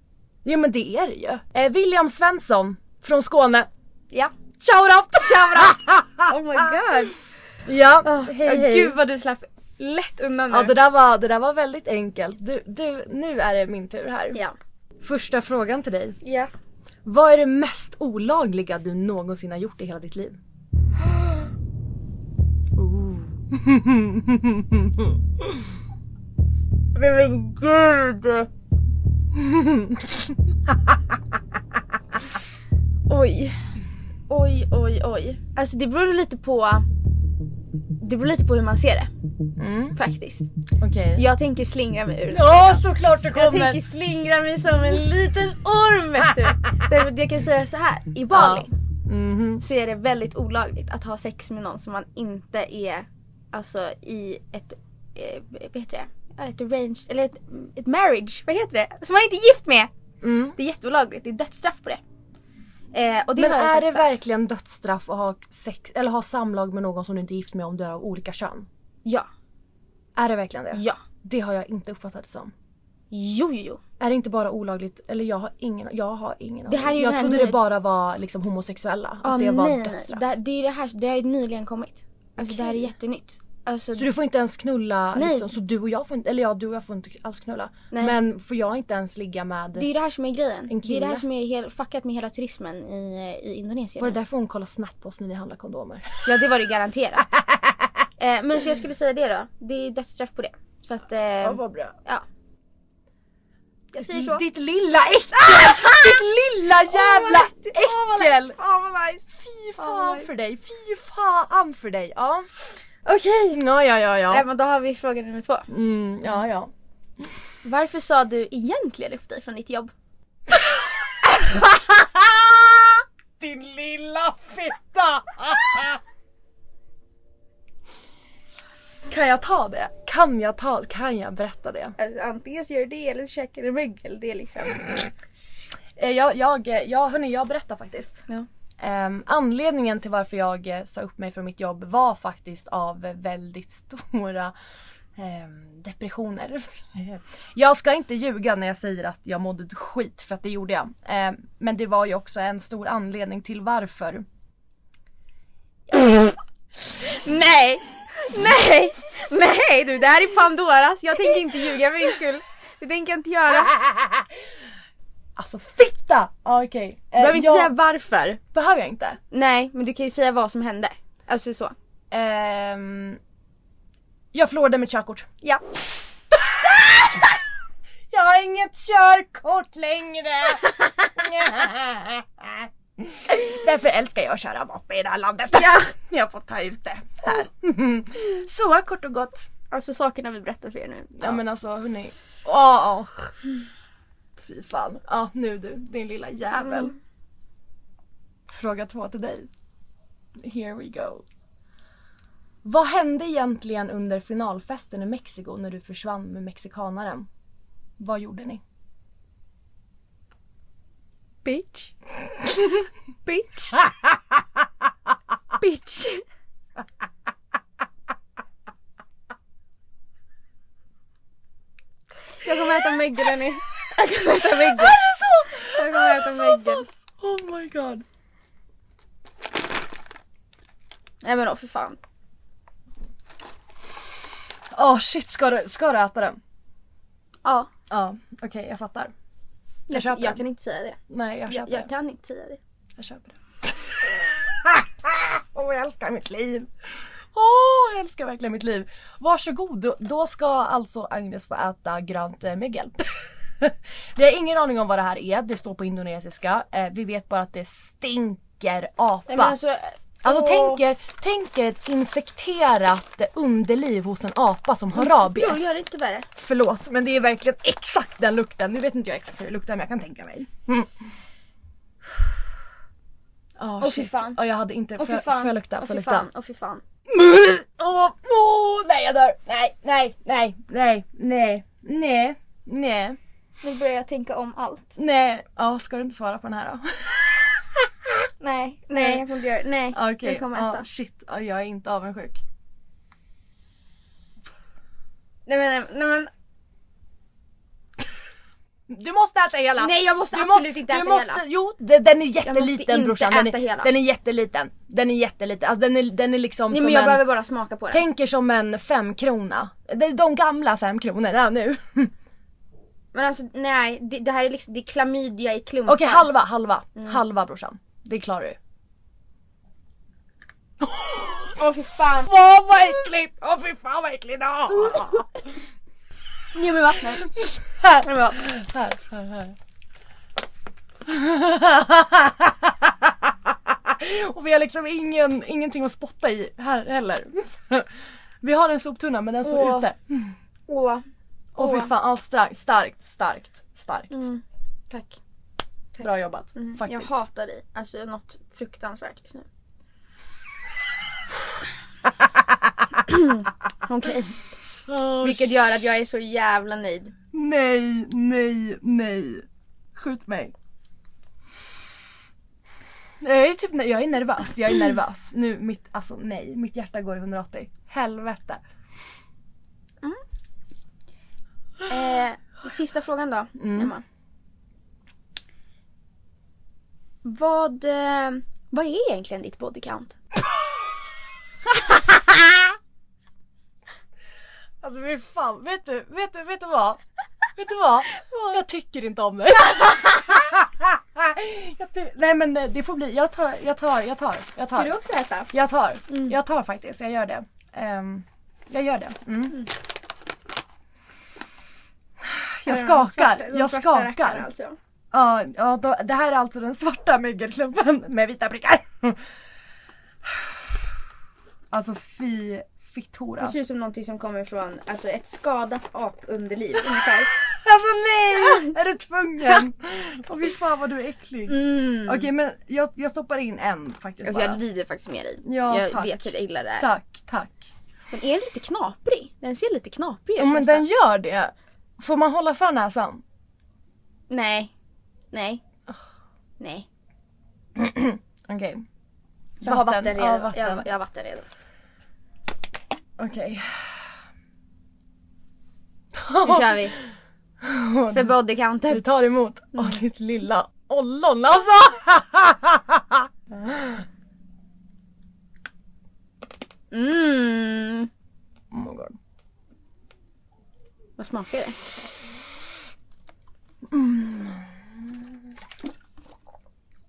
S1: Jo men det är det ju. Eh, William Svensson från Skåne.
S2: Ja.
S1: Ciao då!
S2: Oh my god.
S1: Ja, hej
S2: Ah, Hej,
S1: hej.
S2: Gud vad du slapp lätt undan nu.
S1: Ja det där var, det där var väldigt enkelt. Du, du, nu är det min tur här.
S2: Ja.
S1: Första frågan till dig.
S2: Ja.
S1: Vad är det mest olagliga du någonsin har gjort i hela ditt liv?
S2: Nej men gud! oj. Oj, oj, oj. Alltså det beror lite på... Det beror lite på hur man ser det. Faktiskt.
S1: Okej.
S2: Så jag tänker slingra mig ur det.
S1: Ja såklart du
S2: Jag
S1: kommer!
S2: tänker slingra mig som en liten orm vet du. Därför att jag kan säga så här. I Bali så är det väldigt olagligt att ha sex med någon som man inte är alltså i ett, eh, vad heter det? Ja, Ett arrange, eller ett, ett marriage, vad heter det? Som man inte är gift med!
S1: Mm.
S2: Det är jätteolagligt, det är dödsstraff på det. Eh, och det
S1: Men
S2: har jag
S1: är det
S2: faktiskt sagt.
S1: verkligen dödsstraff att ha sex eller ha samlag med någon som du inte är gift med om du är av olika kön?
S2: Ja.
S1: Är det verkligen det?
S2: Ja.
S1: Det har jag inte uppfattat det som.
S2: Jo, jo, jo.
S1: Är det inte bara olagligt? Eller jag har ingen, jag har ingen
S2: Det här
S1: aning.
S2: är ju
S1: Jag
S2: den
S1: trodde
S2: här
S1: det
S2: ny-
S1: bara var liksom homosexuella.
S2: Ah,
S1: att det var
S2: nej, nej.
S1: dödsstraff.
S2: Det, det är det här, det har ju nyligen kommit. Alltså det här är jättenytt. Alltså,
S1: Så du får inte ens knulla
S2: Nej.
S1: liksom, så du och jag får inte, eller ja du och jag får inte alls knulla.
S2: Nej.
S1: Men får jag inte ens ligga med...
S2: Det är ju det här som är
S1: En
S2: grejen. Det är det här
S1: kille.
S2: som är helt fuckat med hela turismen i, eh, i Indonesien.
S1: Var det därför hon kollade snett på oss när ni handlade kondomer?
S2: Ja det var det garanterat. eh, men så jag skulle säga det då. Det är dödsstraff på det. Så att... Eh, ja
S1: vad bra.
S2: Ja. Jag säger så.
S1: Ditt lilla äckel! Ditt lilla jävla äckel!
S2: Fan vad nice!
S1: Fy fan för dig, fy fan för dig! Ja.
S2: Okej!
S1: Ja, ja, ja, ja.
S2: Eh, men då har vi fråga nummer två.
S1: Mm, ja, ja.
S2: Varför sa du egentligen upp dig från ditt jobb?
S4: Din lilla fitta!
S1: Kan jag ta det? Kan jag ta Kan jag berätta det?
S8: Alltså, antingen så gör du det eller så käkar du mögel. Det är liksom...
S1: Eh, Jag, jag, eh, jag, hörni, jag berättar faktiskt.
S8: Ja.
S1: Ehm, anledningen till varför jag eh, sa upp mig från mitt jobb var faktiskt av eh, väldigt stora ehm, depressioner. jag ska inte ljuga när jag säger att jag mådde skit för att det gjorde jag. Ehm, men det var ju också en stor anledning till varför.
S8: Nej! Nej! Nej du, det här är Pandoras. Jag tänker inte ljuga för din skull. Det tänker jag inte göra.
S1: Alltså fitta! Ah, Okej. Okay.
S8: Du behöver inte säga varför.
S1: Behöver jag inte?
S8: Nej, men du kan ju säga vad som hände. Alltså så.
S1: Ehm, jag förlorade mitt körkort.
S8: Ja.
S4: Jag har inget körkort längre!
S1: Därför älskar jag att köra moppe i det här landet. Jag har fått ta ut det här. Så kort och gott.
S8: Alltså sakerna vi berättar för er nu.
S1: Ja, men alltså hörni. Åh, åh. Fy fan. Ja nu du, din lilla jävel. Fråga två till dig. Here we go. Vad hände egentligen under finalfesten i Mexiko när du försvann med mexikanaren? Vad gjorde ni?
S8: Bitch. Bitch. Bitch. Jag kommer äta mögel hörni. Jag kommer äta mögel.
S1: Är det så?
S8: Jag kommer äta mögel.
S1: Oh my god.
S8: Nej men åh för fan.
S1: Åh shit, ska du, ska du äta den?
S8: Ja.
S1: Ja, okej jag fattar. Jag köper
S8: jag
S1: den.
S8: kan inte säga det.
S1: Nej jag köper
S8: jag,
S1: det.
S8: jag kan inte säga det.
S1: Jag köper det.
S4: Åh, jag älskar mitt liv!
S1: Åh, jag älskar verkligen mitt liv. Varsågod, då- då ska alltså Agnes få äta grönt eh, mögel. Vi har ingen aning om vad det här är, det står på indonesiska. Eh, vi vet bara att det stinker apa.
S8: Nej, men alltså,
S1: Alltså
S8: åh.
S1: tänk er, tänk er ett infekterat underliv hos en apa som har rabies.
S8: Jo, gör det inte värre.
S1: Förlåt men det är verkligen exakt den lukten. Nu vet inte jag exakt hur det luktar men jag kan tänka mig. Mm. Oh,
S8: Åh, fy fan.
S1: Oh, jag hade inte,
S8: Åh
S1: får
S8: för
S1: jag, får
S8: fan.
S1: jag lukta?
S8: Åh
S1: Får jag
S8: för
S1: lukta?
S8: fan. Åh för fan.
S1: Åh, åh, nej jag dör! Nej, nej, nej, nej, nej, nej, nej,
S8: Nu börjar jag tänka om allt.
S1: nej. Ja, ska du inte svara på den här då?
S8: Nej, nej jag kommer inte göra det. Nej,
S1: Okej,
S8: jag kommer äta.
S1: ja, shit. Ja, jag är inte avundsjuk.
S8: Nej men, nej, nej men.
S1: Du måste äta hela!
S8: Nej, jag måste
S1: du
S8: absolut
S1: måste,
S8: inte
S1: du
S8: äta
S1: måste,
S8: hela.
S1: Jo, de- den är
S8: måste
S1: jätteliten
S8: inte
S1: brorsan. Den
S8: äta
S1: är,
S8: hela.
S1: den är jätteliten. Den är jätteliten. Alltså den är, den är liksom
S8: Nej
S1: som
S8: men jag
S1: en...
S8: behöver bara smaka på det.
S1: Tänker som en femkrona. Det är de gamla femkronorna nu.
S2: Men alltså nej, det, det här är liksom, det är klamydia i klumpar.
S1: Okej, halva, halva.
S8: Mm.
S1: Halva brorsan. Det klarar du.
S8: Åh för fan.
S4: Fan vad äckligt! Åh fy fan vad äckligt! Ah.
S8: Ge mig vattnet.
S1: Här.
S8: Ge mig vattnet.
S1: Här, här, här. Och vi har liksom ingen, ingenting att spotta i här heller. Vi har en soptunna men den står
S8: Åh.
S1: ute.
S8: Åh.
S1: Åh fy
S8: Åh.
S1: fan, ja, starkt, starkt, starkt, starkt.
S8: Mm. Tack. Tack.
S1: Bra jobbat
S8: Mm. Jag
S1: faktiskt.
S8: hatar dig. Alltså något fruktansvärt just nu. Okej. Vilket gör att jag är så jävla nöjd.
S1: Nej, nej, nej. Skjut mig. Jag är typ, jag är nervös, jag är nervös. Nu, mitt, alltså nej, mitt hjärta går i 180. Helvete.
S8: Eh,
S2: Sista frågan då,
S1: Mm.
S2: Emma. Vad, eh, vad är egentligen ditt body count?
S1: Alltså fy fan, vet du, vet du, vet du vad? Vet du vad? Jag tycker inte om dig. jag ty- Nej men eh, det det får bli, jag tar, jag tar, jag tar. Jag tar.
S2: Ska du också äta?
S1: Jag tar,
S2: Mm.
S1: jag tar faktiskt, jag gör det. Ehm, jag gör det. Mm. Jag
S2: Eller de svarta-
S1: skakar,
S2: de
S1: jag
S2: svarta rackarna
S1: skakar.
S2: Alltså.
S1: Ja, ja då, det här är alltså den svarta mögelklumpen med vita prickar. Alltså fy fitthora.
S2: Det ser ut som någonting som kommer från alltså, ett skadat apunderliv ungefär.
S1: Alltså nej! Är du tvungen? Åh fy fan vad du är äcklig.
S2: Mm.
S1: Okej men jag, jag stoppar in en faktiskt
S2: Alltså,
S1: bara.
S2: jag lider faktiskt med dig.
S1: Ja,
S2: jag
S1: tack.
S2: vet hur illa det är.
S1: Tack, tack.
S2: Den är lite knaprig. Den ser lite knaprig ut
S1: Ja, men
S2: nästan.
S1: den gör det. Får man hålla för näsan?
S2: Nej. Nej. Nej.
S1: Okej.
S2: Jag har vatten redo.
S1: Ja,
S2: Jag,
S1: vatten.
S2: jag har vatten redo.
S1: Okej.
S2: Nu kör vi. För body counter.
S1: Vi tar emot. Åh
S2: Mm.
S1: ditt lilla ollon alltså!
S2: Mm.
S1: Oh my god.
S2: Vad smakar det?
S1: Mm.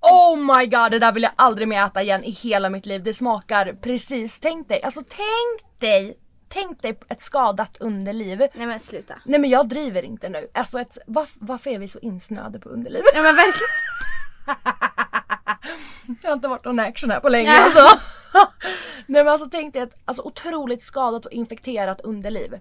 S1: Oh my god, det där vill jag aldrig mer äta igen i hela mitt liv. Det smakar precis, tänk dig, alltså tänk dig, tänk dig ett skadat underliv.
S2: Nej men sluta.
S1: Nej men jag driver inte nu. Alltså ett, varf- varför är vi så insnöade på underlivet?
S2: Ja men verkligen.
S1: Jag har inte varit någon action här på länge
S2: Nej.
S1: alltså. Nej men alltså tänk dig ett alltså, otroligt skadat och infekterat underliv.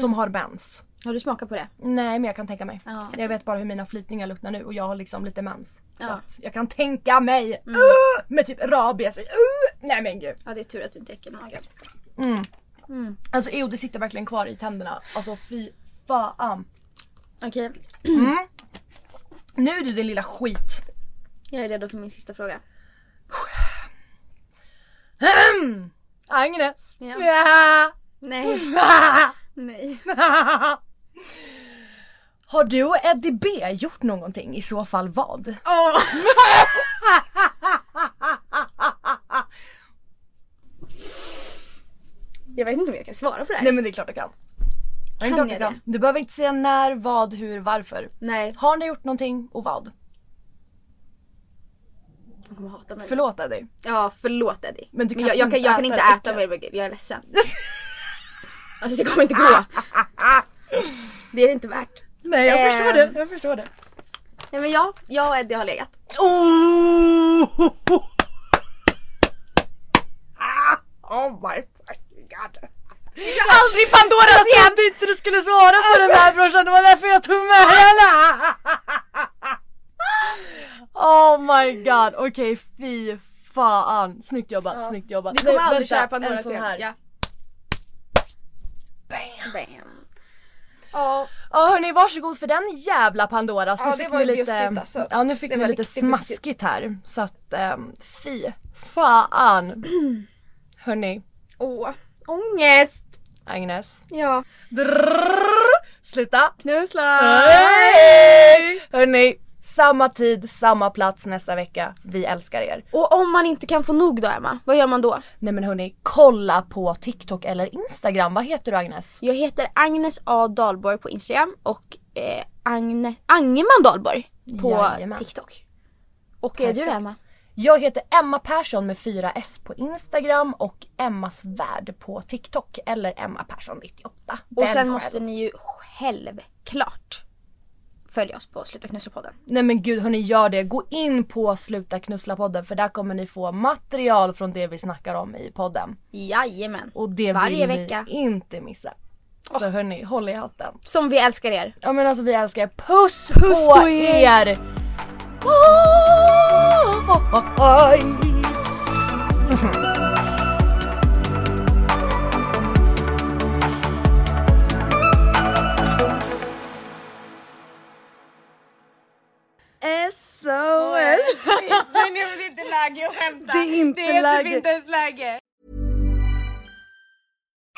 S1: Som har mens.
S2: Har du smakat på det?
S1: Nej men jag kan tänka mig.
S2: Mm. Ja.
S1: Jag vet bara hur mina flytningar luktar nu och jag har liksom lite mens. Så
S2: Ja. Mm.
S1: att jag kan tänka mig! Uh, med typ rabies i. Uh, nej men gud.
S2: Ja det är tur att du inte är äckelmagad.
S1: Mm.
S2: Mm.
S1: Alltså jo det sitter verkligen kvar i tänderna. Alltså fy fan.
S2: Okej,
S1: Mm. Nu du din lilla skit.
S2: jag är redo för min sista fråga.
S1: Agnes.
S2: Ja.
S1: Ja.
S2: Nej.
S1: Ja.
S2: Nej.
S1: Har du och Eddie B gjort någonting? I så fall vad?
S2: Jag vet inte om jag kan svara på det här.
S1: Nej men det är klart jag kan. Det är
S2: Kan
S1: klart
S2: jag
S1: jag kan.
S2: det?
S1: Du behöver inte säga när, vad, hur, varför.
S2: Nej.
S1: Har ni gjort någonting och vad?
S2: De kommer hata mig.
S1: Förlåt Eddie.
S2: Ja förlåt Eddie.
S1: Men du kan
S2: jag, jag, kan, jag kan
S1: inte
S2: inte
S1: äta
S2: äta mer burgare, jag är ledsen. alltså det kommer inte gå. det är det inte värt.
S1: Nej jag
S2: Ehm.
S1: förstår det, jag förstår det.
S2: Nej men jag, jag och Eddie har legat.
S4: Oh! Oh my fucking god.
S2: Aldrig Pandoras
S1: Jag trodde inte du skulle svara på den här brorsan, det var därför jag tog med hela! Oh my god, okej fy fan. Snyggt jobbat, snyggt jobbat.
S2: Vi kommer
S1: Nej,
S2: aldrig
S1: vänta,
S2: köra
S1: en
S2: Pandoras
S1: sån
S2: igen.
S1: här.
S2: Ja. Bam! Bam.
S1: Ja hörni, varsågod för den jävla Pandoras.
S2: Ja, det var
S1: ni
S2: ju bjussigt, alltså.
S1: Ja nu fick
S2: Det
S1: ni
S2: var
S1: lite
S2: riktigt bjussigt.
S1: smaskigt här. Så att um, fy fan. hörni,
S2: Åh, ångest!
S1: Agnes.
S2: Ja.
S1: Drrrr, sluta.
S2: Knussla!
S1: Hej! Hörni, samma tid, samma plats nästa vecka. Vi älskar er.
S2: Och om man inte kan få nog då Emma, vad gör man då?
S1: Nej men hörni, kolla på TikTok eller Instagram. Vad heter du Agnes?
S2: Jag heter Agnes A Dahlborg på Instagram och eh, Agne, Angeman Dahlborg på
S1: Jajamän.
S2: TikTok. Och är du det
S1: Perfekt.
S2: Emma?
S1: Jag heter Emma Persson med 4S på Instagram och Emmas värld på TikTok eller Emma Persson 98.
S2: Och
S1: Den
S2: sen
S1: själv.
S2: måste ni ju självklart följa oss på Sluta Knussa-podden.
S1: Nej men gud hörni gör det. Gå in på Sluta Knussla-podden för där kommer ni få material från det vi snackar om i podden.
S2: Jajamän.
S1: Och det
S2: Varje
S1: vill
S2: vecka.
S1: ni inte missa. Så hörni, håll i hatten.
S2: Som vi älskar er.
S1: Ja men alltså vi älskar er. Puss,
S2: Puss
S1: på,
S2: på er.
S1: er! Puss!
S3: SOS!
S4: Det är nu inte läge att skämta.
S3: Det är inte läge.
S4: ens läge.